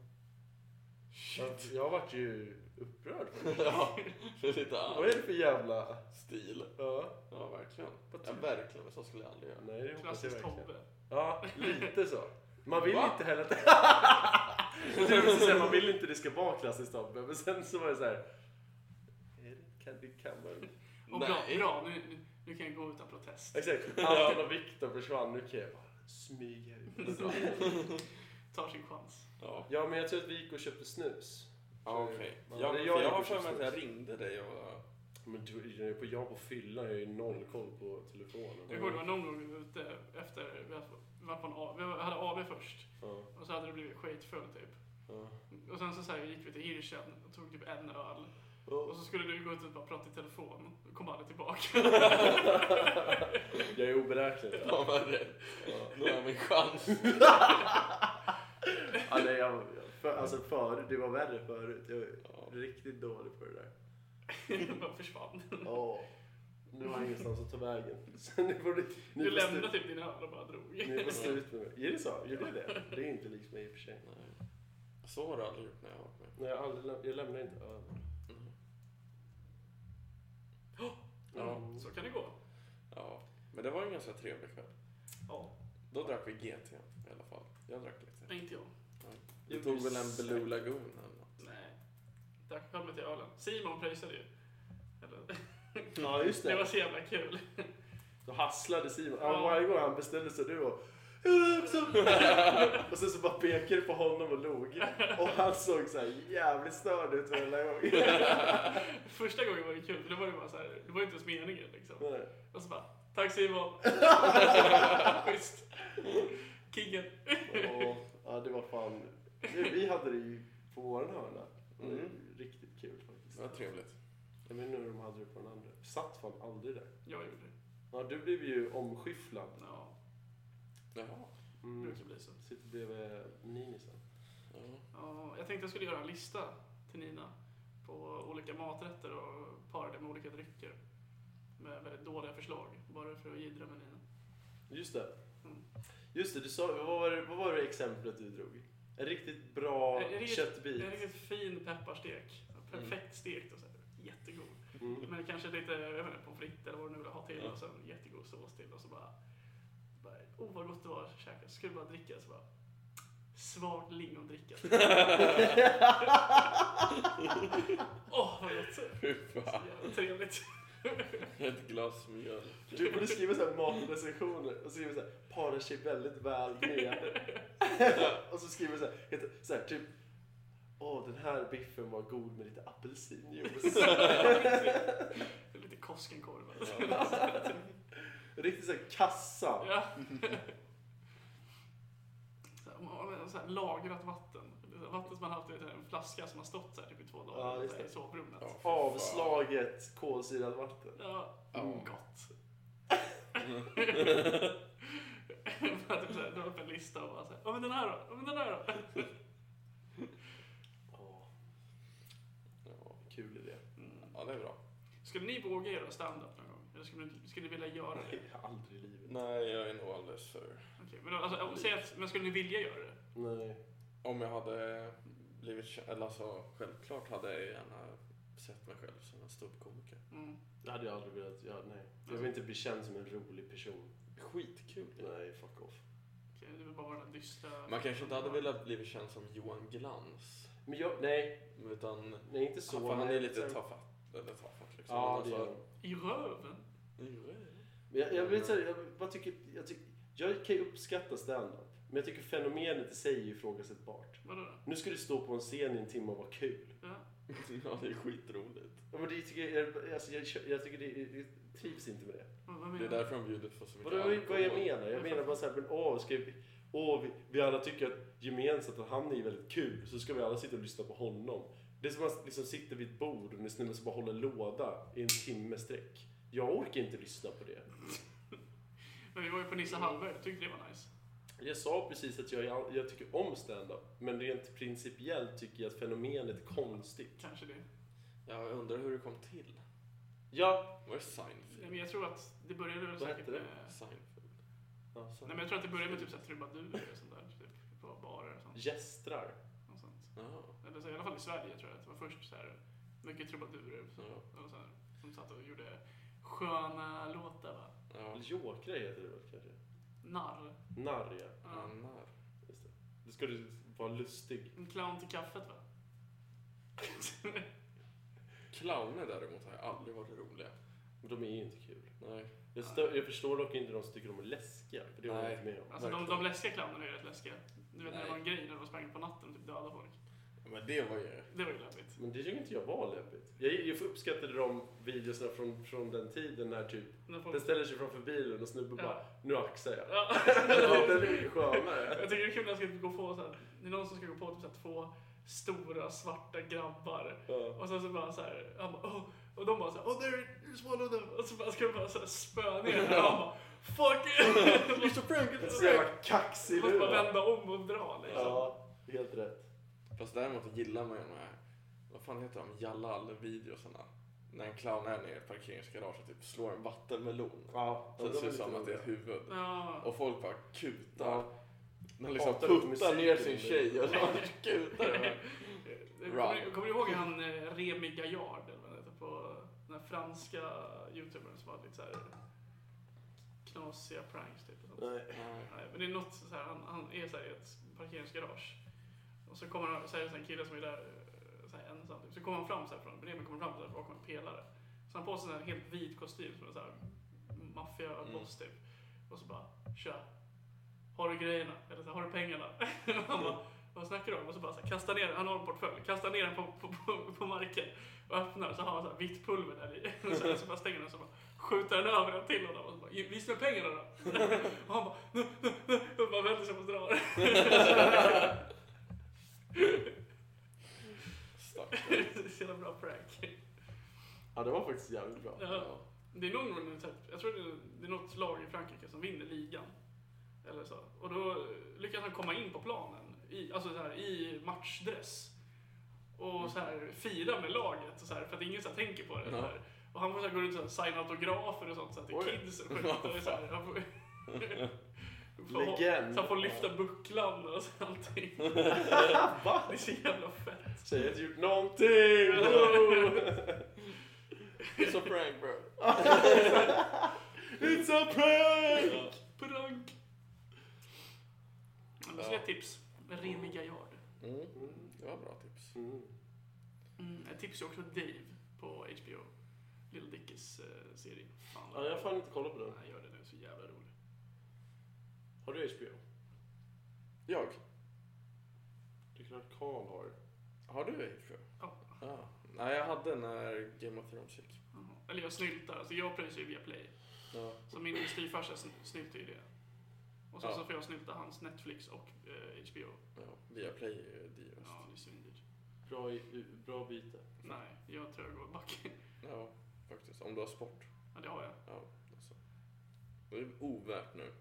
Speaker 2: Shit.
Speaker 3: Jag vart ju upprörd.
Speaker 2: ja, det är lite
Speaker 3: Vad är
Speaker 2: arg
Speaker 3: det för jävla...
Speaker 2: stil.
Speaker 3: Ja,
Speaker 2: Ja, verkligen.
Speaker 3: vad
Speaker 2: Ja,
Speaker 3: tror du?
Speaker 2: verkligen. Men så skulle jag aldrig göra.
Speaker 3: Nej, det hoppas jag
Speaker 1: Klassisk
Speaker 3: verkligen.
Speaker 1: Tobbe.
Speaker 3: Ja, lite så. Man vill
Speaker 2: Va?
Speaker 3: inte heller att... Jag tänkte säga, man vill inte det ska vara klassiskt Tobbe, men sen så var det så här... är det- Kan, det kan man...
Speaker 1: Och bra, bra nu, nu- nu kan jag gå utan protest.
Speaker 3: Exakt, Anton och Viktor försvann. Nu kan jag bara smyga ut.
Speaker 1: Tar sin chans.
Speaker 2: Ja,
Speaker 3: Ja, men jag tror att vi gick och köpte snus.
Speaker 2: ja okej.
Speaker 3: Ja,
Speaker 2: Ja,
Speaker 3: det
Speaker 2: men
Speaker 3: gör
Speaker 2: för jag
Speaker 3: jag
Speaker 2: har
Speaker 3: också
Speaker 2: för mig att jag
Speaker 3: snus.
Speaker 2: ringde dig och
Speaker 3: Men du, jag är på jobb och fylla, jag har ju noll koll på telefonen.
Speaker 2: Mm.
Speaker 1: Jag kommer ihåg det var någon gång vi var ute efter, vi hade, vi var på en A, vi hade AB först.
Speaker 3: Ja,
Speaker 1: Och så hade det blivit skitfull typ.
Speaker 3: ja.
Speaker 1: Och sen så, så här, gick vi till Hirschen och tog typ en öl. Och så skulle du gå ut och bara prata i telefon. Och kom aldrig tillbaka.
Speaker 3: Jag är oberäknelig.
Speaker 2: Fan vad rädd. Nu har jag min chans.
Speaker 3: Ja, nej, jag, för, alltså förut, det var värre förut. Jag är riktigt dålig på det där.
Speaker 1: Jag bara försvann.
Speaker 3: Ja. Nu har jag ingenstans att ta vägen. Så nu får du, nu
Speaker 1: Du
Speaker 3: får stu-
Speaker 1: lämnade typ din öl och bara drog.
Speaker 3: Ni får stå ut med mig. Är det så? Gjorde jag det? Det är inte likt mig i och för sig.
Speaker 2: Så har du aldrig gjort när jag har varit med.
Speaker 3: Nej, jag, aldrig, läm- jag lämnar inte över.
Speaker 2: Mm. Ja.
Speaker 3: Mm.
Speaker 1: Så kan det gå.
Speaker 2: ja. Men det var en ganska trevlig kväll.
Speaker 1: Ja,
Speaker 2: Då drack vi GT i alla fall. Jag drack GT.
Speaker 1: inte jag.
Speaker 2: Du tog väl en Blue Lagoon eller något?
Speaker 1: Nej. Tack själv till ölen. Simon pröjsade ju. Eller,
Speaker 3: Ja, just
Speaker 1: det var
Speaker 3: det.
Speaker 1: så jävla kul.
Speaker 3: Då hasslade Simon. Ja,
Speaker 1: Ja.
Speaker 3: varje gång han beställde sig du och... också. och sen så bara pekade du på honom och log. Och han såg så här jävligt störd ut varenda gång.
Speaker 1: Första gången var det kul, för då var det bara så här, det var inte ens meningen liksom.
Speaker 3: Nej.
Speaker 1: Och så bara, tack Simon. Schysst. Kingen.
Speaker 3: Ja, ja, det var fan... Vi vi hade det ju på våran hörna. Och det var
Speaker 2: Mm.
Speaker 3: Riktigt kul faktiskt.
Speaker 2: Det var trevligt.
Speaker 3: Jag vet inte hur de hade det på den andra. Satt fan aldrig där.
Speaker 1: Jag gjorde det.
Speaker 3: Ja, du blev ju omskyfflad.
Speaker 1: Ja,
Speaker 2: Jaha.
Speaker 1: det
Speaker 3: Mm.
Speaker 1: brukar bli så.
Speaker 3: Sitter bredvid Nini sen.
Speaker 2: Ja.
Speaker 1: Ja, jag tänkte jag skulle göra en lista till Nina på olika maträtter och para det med olika drycker. Med väldigt dåliga förslag, bara för att jiddra med Nina.
Speaker 3: Just det.
Speaker 1: Mm.
Speaker 3: Just det, du sa, vad, var det, vad var det exemplet du drog? En riktigt bra
Speaker 1: En- en riktigt-
Speaker 3: köttbit.
Speaker 1: En riktigt fin pepparstek. Perfekt stekt och så här. Jättegod.
Speaker 3: Mm.
Speaker 1: Men kanske lite, jag vet inte, pommes frites eller vad du nu vill ha till.
Speaker 3: Ja.
Speaker 1: Och sen jättegod sås till. Och så bara, bara oh vad gott det var att käka. Så skulle du bara dricka. Så bara, svag lingondricka.
Speaker 3: Mm.
Speaker 1: Åh, vad gott. Så
Speaker 2: Fy fan.
Speaker 1: jävla trevligt.
Speaker 2: Ett glas mjöl.
Speaker 3: Du borde skriva så här matrecensioner och skriva så här, parar sig väldigt väl med. och så skriver du så här, heter, så här typ, åh den här biffen var god med lite apelsinjuice.
Speaker 1: Lite Koskenkorv. alltså.
Speaker 3: Riktigt så här kassa.
Speaker 1: Ja. Så här, om man har så här lagrat vatten. Vatten som man haft i en flaska som har stått så här typ i två dagar
Speaker 3: Ja, just
Speaker 1: så här i
Speaker 3: det.
Speaker 1: sovrummet.
Speaker 2: Ja.
Speaker 3: Avslaget kolsyrat vatten.
Speaker 1: Ja,
Speaker 2: Ja.
Speaker 3: Mm.
Speaker 1: gott. Bara typ såhär, dra upp en lista och bara såhär, ja men den här då, ja men den här då.
Speaker 3: Åh,
Speaker 2: Ja.
Speaker 3: kul idé.
Speaker 1: Mm.
Speaker 2: ja, det är bra.
Speaker 1: Skulle ni våga göra stand-up någon gång? Eller skulle ni, skulle ni vilja göra det?
Speaker 3: Nej, aldrig i livet.
Speaker 2: Nej, jag är nog alldeles för...
Speaker 1: Okej, men, då, alltså, om, säg att, men skulle ni vilja göra det?
Speaker 3: Nej.
Speaker 2: Om jag hade blivit känd, eller alltså självklart hade jag gärna sett mig själv som en ståuppkomiker.
Speaker 1: Mm.
Speaker 3: Det hade jag aldrig velat göra, nej. Jag vill inte bli känd som en rolig person.
Speaker 2: Skitkul.
Speaker 3: Nej, fuck off.
Speaker 1: Okej, det vill bara vara den dystra...
Speaker 2: Man kanske inte hade velat bli känd som Johan Glans.
Speaker 3: Men jag, nej,
Speaker 2: Utan,
Speaker 3: nej inte så.
Speaker 2: så han, han
Speaker 3: men-
Speaker 2: är lite tafatt. Eller tafatt liksom.
Speaker 3: Ja, det
Speaker 2: Men
Speaker 3: är
Speaker 2: alltså,
Speaker 3: han.
Speaker 1: I röven?
Speaker 3: Men jag, jag, vill säga, jag bara tycker, jag tycker, jag kan ju uppskatta stand-up. Men jag tycker fenomenet i sig är ifrågasättbart.
Speaker 1: Vadå då?
Speaker 3: Nu ska du stå på en scen i en timme och vara kul.
Speaker 1: Ja.
Speaker 2: ja, det är skitroligt.
Speaker 3: Ja, Men det tycker jag, jag- alltså, jag, jag tycker det, jag trivs inte med det.
Speaker 1: Vad, vad menar
Speaker 2: Det är
Speaker 1: du?
Speaker 2: därför de bjuder på så
Speaker 3: Vad,
Speaker 2: mycket
Speaker 3: vad, vad jag
Speaker 2: alkohol.
Speaker 3: menar? Jag menar bara såhär, men åh, ska vi, åh vi, vi alla tycker att gemensamt att han är väldigt kul, så ska vi alla sitta och lyssna på honom. Det är som att man liksom sitter vid ett bord och en snubbe som bara håller låda i en timme sträck. Jag orkar inte lyssna på det.
Speaker 1: Men vi var ju på Nisse Hallberg, jag tyckte det var nice.
Speaker 3: Jag sa precis att jag, jag tycker om stand-up, men rent principiellt tycker jag att fenomenet är konstigt.
Speaker 1: Kanske det.
Speaker 2: Ja, Jag undrar hur det kom till.
Speaker 3: Ja,
Speaker 2: Var det Seinfeld?
Speaker 1: Nej, men jag tror att det började väl
Speaker 3: Vad
Speaker 1: säkert
Speaker 3: hette det?
Speaker 1: med...
Speaker 2: Seinfeld.
Speaker 3: alltså,
Speaker 1: Nej men jag tror att det började med typ såhär trubadurer och sånt där. Typ på barer och sånt.
Speaker 3: gästrar.
Speaker 1: Något sånt.
Speaker 2: Ja,
Speaker 1: Eller så, här, i alla fall i Sverige tror jag att det var först så här mycket trubadurer och så,
Speaker 2: ja,
Speaker 1: och så här, som satt och gjorde sköna låtar va?
Speaker 2: ja.
Speaker 3: Eller Jokrar heter det väl kanske?
Speaker 1: Narr.
Speaker 3: Narr, ja.
Speaker 1: Ja.
Speaker 2: Annar.
Speaker 3: Just det. Då ska du vara lustig.
Speaker 1: En clown till kaffet va?
Speaker 2: Clowner däremot har jag aldrig varit roliga.
Speaker 3: Men de är ju inte kul.
Speaker 2: Nej.
Speaker 3: Jag, stö- jag förstår dock inte de som tycker de är läskiga, för det har jag
Speaker 2: Nej.
Speaker 3: inte med om.
Speaker 1: Alltså de,
Speaker 2: Verkligen.
Speaker 1: de läskiga clownerna är ju rätt läskiga. Du vet när det
Speaker 2: Nej.
Speaker 1: var en grej när de sprang på natten och typ dödade folk.
Speaker 2: Men det var ju...
Speaker 1: Det var ju läbbigt.
Speaker 3: Men det tycker inte jag var läbbigt. Jag, jag uppskattade de videorna från, från den tiden när typ
Speaker 1: När folk-
Speaker 3: den ställer sig framför bilen och snubben
Speaker 1: Ja.
Speaker 3: bara nu axar jag.
Speaker 1: Ja.
Speaker 3: Ja, den är mycket skönare.
Speaker 1: Jag tycker det är kul när jag ska gå på så här, det är någon som ska gå på typ så här, två stora svarta grabbar
Speaker 3: Ja.
Speaker 1: och sen så bara så här, han bara, oh, och de bara så här, oh there, you swallowed them och så bara ska de bara så här spöa ner och han bara fuck it!
Speaker 3: Mr Frank, det är så jävla kaxig
Speaker 1: Måste
Speaker 3: du.
Speaker 1: bara
Speaker 3: va?
Speaker 1: vända om och dra liksom.
Speaker 3: Ja, helt rätt.
Speaker 2: Fast däremot gillar man ju de här, vad fan heter de, Jalal-videosarna. När en clown är nere i ett parkeringsgarage och typ slår en vattenmelon.
Speaker 3: Ja,
Speaker 2: Så det ser ut som att det är ett huvud.
Speaker 1: Ja.
Speaker 2: Och folk bara kutar.
Speaker 3: Ja.
Speaker 2: De liksom
Speaker 3: Hatar du
Speaker 2: puttar
Speaker 3: musiken
Speaker 2: ner sin
Speaker 3: eller?
Speaker 2: tjej och de kutar.
Speaker 1: Kommer, ni- kommer du ihåg han eh, Remi Gaillard eller vad han heter på den här franska youtubern som hade lite så här knasiga pranks typ? eller något?
Speaker 3: Nej.
Speaker 1: Nej, men det är något så här, han, han är så här i ett parkeringsgarage. Och så kommer han, så är det så här en kille som är där eh, så här ensam. Typ. Så kommer han fram så här från, Bremen kommer fram så här bakom en pelare. Så han har på sig en helt vit kostym som en så här maffiaboss typ. Och så bara, tja. Har du grejerna? Eller så här, har du pengarna? Och han bara, vad snackar du om? Och så bara så här, kastar ner, han har en portfölj, kastar ner den på, på, på, på marken. Och öppnar så har han så här vitt pulver där i. Och sen så bara stänger den och så bara skjuter den över den till honom. Och så bara, visa mig pengarna då. Och han bara, nu, nu, nu. Och bara vänder sig om och drar.
Speaker 2: Stackare.
Speaker 1: Det är så jävla bra prank.
Speaker 3: Ja, det var faktiskt jävligt bra.
Speaker 1: Ja. Det är någon gång, typ, jag tror det är, det är något lag i Frankrike som vinner ligan. Eller så. Och då lyckas han komma in på planen, i, alltså så här, i matchdress. Och så här, fira med laget, och så här, för att ingen så här, tänker på det. Så
Speaker 2: Ja.
Speaker 1: här. Och han får så här, gå runt och så här, signa autografer och sånt så här, till
Speaker 2: Oj.
Speaker 1: kids. Och skit. Och så här, han får, får, ha-
Speaker 3: Legend.
Speaker 1: Så han får lyfta bucklan och så, allting. Det är så jävla fett.
Speaker 3: Tjejer har inte gjort någonting! Hello!
Speaker 2: It's a prank bro.
Speaker 3: It's a prank!
Speaker 2: Ja.
Speaker 1: Prank! Ja, men Så
Speaker 2: Ja.
Speaker 1: ett tips. Remi Gaillard.
Speaker 2: Mm. Det var bra tips.
Speaker 3: Mm.
Speaker 1: Mm, ett tips är också Dave på HBO. Lil Dickies eh, serie. Fan,
Speaker 3: Ja, jag har fan inte kollat på den.
Speaker 1: Nej, gör det nu. Så jävla rolig.
Speaker 3: Har du HBO?
Speaker 2: Jag?
Speaker 3: Det är klart Karl har.
Speaker 2: Har du HBO?
Speaker 1: Ja.
Speaker 2: Ja. Nej, jag hade när Game of Thrones gick.
Speaker 1: Jaha. Eller jag snyltar. Alltså jag pröjsar ju via Play.
Speaker 2: Ja.
Speaker 1: Så min styvfarsa sn- snyltar ju det. Och sen
Speaker 2: Ja.
Speaker 1: så får jag snylta hans Netflix och eh, HBO.
Speaker 2: Ja, via Play är dyrast.
Speaker 1: Ja, det är svindyrt.
Speaker 3: Bra, i- bra byte.
Speaker 1: Nej, jag tror jag går back.
Speaker 2: Ja, faktiskt. Om du har sport.
Speaker 1: ja, det har jag.
Speaker 2: Alltså. Det är ovärt nu.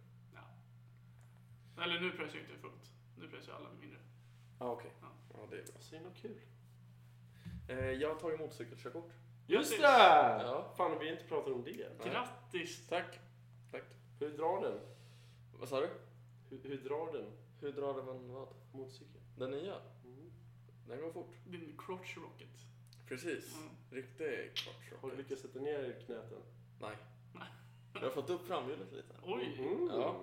Speaker 1: Eller nu pröjsar jag inte fullt. Nu pröjsar jag alla mindre.
Speaker 2: Ja, okej.
Speaker 1: Ja.
Speaker 2: Ja, det är bra.
Speaker 3: Säg något kul.
Speaker 2: Eh, jag har tagit motorcykelkörkort.
Speaker 3: Just
Speaker 1: Precis.
Speaker 3: det!
Speaker 2: Ja.
Speaker 3: Fan, vi har inte pratat om det.
Speaker 2: Nej.
Speaker 1: Grattis!
Speaker 2: Tack. Tack.
Speaker 3: Hur drar den?
Speaker 2: Vad sa du?
Speaker 3: Hur, hur drar den?
Speaker 2: Hur drar den vad?
Speaker 3: Motorcykeln?
Speaker 2: Den nya?
Speaker 3: Mm.
Speaker 2: Den går fort.
Speaker 1: Din crotch rocket.
Speaker 2: Precis.
Speaker 1: Mm.
Speaker 2: Riktig kvartsrock.
Speaker 3: Har du lyckats sätta ner knäten?
Speaker 2: Nej. Jag har fått upp framhjulet lite.
Speaker 1: Oj!
Speaker 3: Mm.
Speaker 2: Ja.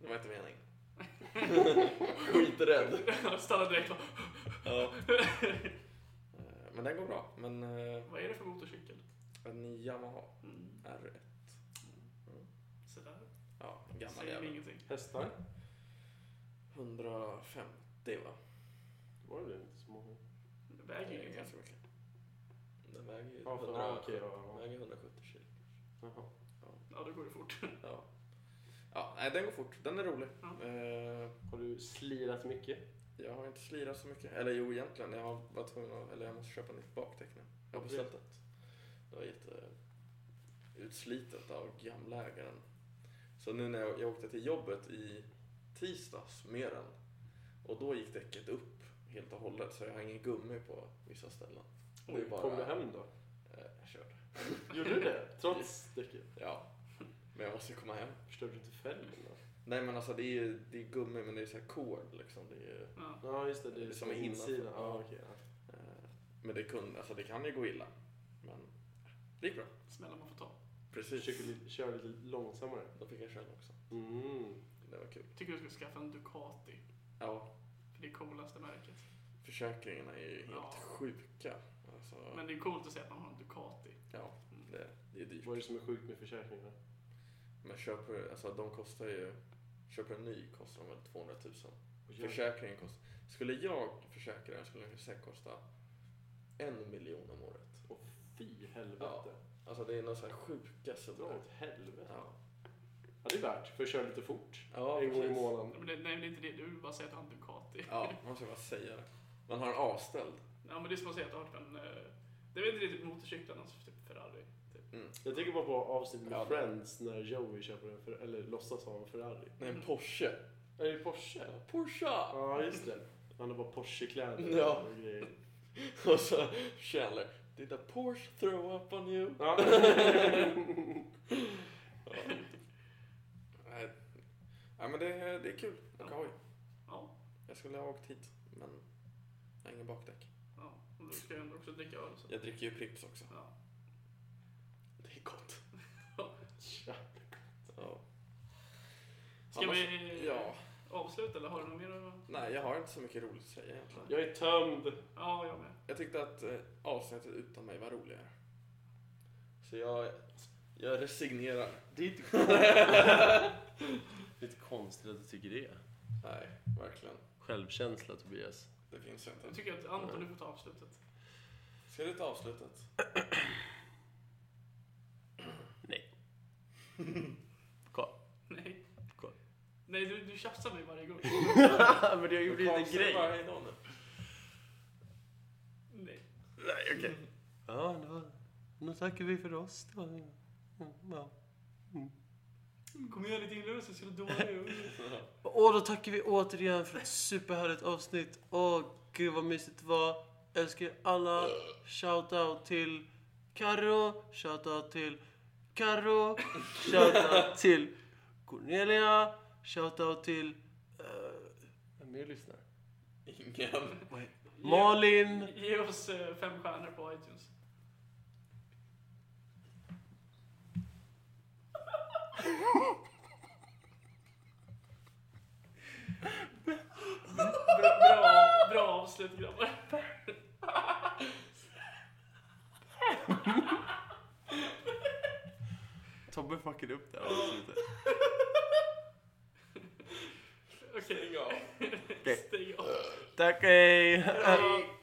Speaker 2: Det var inte meningen. Skiträdd.
Speaker 1: Stanna direkt bara,
Speaker 2: Ja. Eh, Men den går bra. Men eh,
Speaker 1: Vad är det för motorcykel?
Speaker 2: en Yamaha
Speaker 1: Mm.
Speaker 2: R1.
Speaker 1: Sådär.
Speaker 2: Ja, en gammal
Speaker 1: Säger mig
Speaker 2: jävel.
Speaker 1: ingenting.
Speaker 3: Hästar?
Speaker 2: 150 va?
Speaker 3: Det var väl inte så många?
Speaker 1: Det väger ju ingenting.
Speaker 2: ganska mycket. Den väger ju
Speaker 3: Ja, för,
Speaker 2: 100
Speaker 3: ja, okej, ja, ja.
Speaker 2: väger 170 kilo.
Speaker 3: Jaha.
Speaker 1: Ja, då går det fort.
Speaker 2: Ja. ja, nej den går fort. Den är rolig.
Speaker 1: Ja.
Speaker 2: Eh,
Speaker 3: Har du slirat mycket?
Speaker 2: Jag har inte slirat så mycket. Eller jo, egentligen. Jag har varit tvungen att, eller jag måste köpa nytt bakdäck nu. Jag har
Speaker 3: Varför det?
Speaker 2: beställt ett. Det var jätte utslitet av gamla ägaren. Så nu när jag, jag åkte till jobbet i tisdags med den och då gick däcket upp helt och hållet så jag har ingen gummi på vissa ställen. Det är bara-
Speaker 3: Kom du hem då?
Speaker 2: Eh, jag körde.
Speaker 3: Gjorde du det? Trots däcket?
Speaker 2: Ja, men jag måste komma hem.
Speaker 3: Förstörde du inte fälgen då?
Speaker 2: Nej men alltså det är ju det är gummi men det är så här kord liksom. Det är,
Speaker 1: Ja.
Speaker 3: Ja, just det. Det är
Speaker 2: Som
Speaker 3: som
Speaker 2: är
Speaker 3: insidan.
Speaker 2: innanför.
Speaker 3: Ja, okej. ja.
Speaker 2: eh, men det, kunde, alltså, det kan ju gå illa. Men det gick bra.
Speaker 1: Smällar man får ta.
Speaker 2: Precis.
Speaker 3: Försöker li- köra lite långsammare.
Speaker 2: Då fick jag skäll också.
Speaker 3: Mm.
Speaker 2: Det var kul.
Speaker 1: Tycker du ska skaffa en Ducati.
Speaker 2: Ja,
Speaker 1: För det är coolaste märket.
Speaker 2: försäkringarna är ju helt
Speaker 1: Ja.
Speaker 2: sjuka. Alltså,
Speaker 1: Men det är coolt att se att man har en Ducati.
Speaker 2: ja,
Speaker 1: Mm.
Speaker 2: det, det är dyrt.
Speaker 3: Vad är det som är sjukt med försäkringarna?
Speaker 2: Men köper, alltså de kostar ju, köper en ny kostar de väl 200 000. Försäkringen kostar, Skulle jag försäkra den skulle den säkert kosta en miljon om året.
Speaker 3: Och fy
Speaker 2: Ja.
Speaker 3: helvete.
Speaker 2: Alltså det är någon sån här sjuka
Speaker 3: Dra
Speaker 2: summor.
Speaker 3: åt helvete.
Speaker 2: Ja.
Speaker 3: Ja, det är värt för att köra lite fort.
Speaker 2: Ja,
Speaker 3: en gång i
Speaker 2: precis.
Speaker 3: månaden.
Speaker 1: Men det, nej, men det är inte det. Du vill bara säga att du har en Ducati.
Speaker 2: Ja, man ska bara säga det. Man har en avställd.
Speaker 1: Ja, men det är som att säga att du har typ en... eh, Det är väl inte riktigt motorcykeln, alltså typ Ferrari. Typ.
Speaker 2: Mm.
Speaker 3: Jag tänker bara på avsnittet med
Speaker 2: Ja.
Speaker 3: Friends när Joey köper en, Fer- eller låtsas ha en Ferrari.
Speaker 2: Nej, en Porsche.
Speaker 3: Är det Porsche?
Speaker 2: Porsche!
Speaker 3: Ja, just det. Han har bara Porsche-kläder
Speaker 2: Ja.
Speaker 3: och grejer.
Speaker 2: Och så Chandler. Did a Porsche throw up on you?
Speaker 3: Ja.
Speaker 2: Ja. Nej. Nej, men det, är- det är kul. Och
Speaker 1: Ja.
Speaker 2: hoj.
Speaker 1: Ja.
Speaker 2: Jag skulle ha åkt hit, men jag har ingen bakdäck.
Speaker 1: ja. Och du ska ju ändå också dricka öl. Så.
Speaker 2: Jag dricker ju Pripps också.
Speaker 1: Ja.
Speaker 2: Det är gott.
Speaker 3: Ja.
Speaker 2: Ja.
Speaker 1: Ska
Speaker 2: Annars-
Speaker 1: vi
Speaker 2: Ja.
Speaker 1: avsluta eller har du något mer? att-
Speaker 2: Nej, jag har inte så mycket roligt att säga egentligen.
Speaker 3: Jag är tömd.
Speaker 1: Ja, jag med.
Speaker 2: Jag tyckte att eh, avsnittet utan mig var roligare. Så jag, jag resignerar.
Speaker 3: Det är inte Lite konstigt att du tycker det.
Speaker 2: Nej, verkligen.
Speaker 3: Självkänsla, Tobias.
Speaker 2: Det finns
Speaker 1: Jag
Speaker 2: inte.
Speaker 1: tycker att Anton, du får ta avslutet.
Speaker 2: Ska du ta avslutet?
Speaker 1: Nej.
Speaker 3: Cool.
Speaker 1: Nej, du, du tjafsar mig varje gång.
Speaker 3: Men det har ju blivit en
Speaker 2: Karlström
Speaker 3: grej.
Speaker 2: bara, hej då nu.
Speaker 1: Nej.
Speaker 3: Nej, okej. Ja, då, då tackar vi för oss då. Mm, ja.
Speaker 1: Kom igen, lite inlevelse så är du dålig.
Speaker 3: Och då tackar vi återigen för ett superhärligt avsnitt. Åh, gud vad mysigt det var. Älskar er alla. Shoutout till Karo. Shoutout till Karo. Shoutout till Cornelia. Shoutout till... Uh, vem mer lyssnar?
Speaker 2: Ingen.
Speaker 3: Malin.
Speaker 1: Ge, ge oss eh, fem stjärnor på iTunes. bra, bra, bra avslut grabbar.
Speaker 3: Tobbe fuckade upp det här avsnittet.
Speaker 1: Okej,
Speaker 2: Ingen.
Speaker 1: stäng av.
Speaker 3: Tack hej!
Speaker 1: Hej.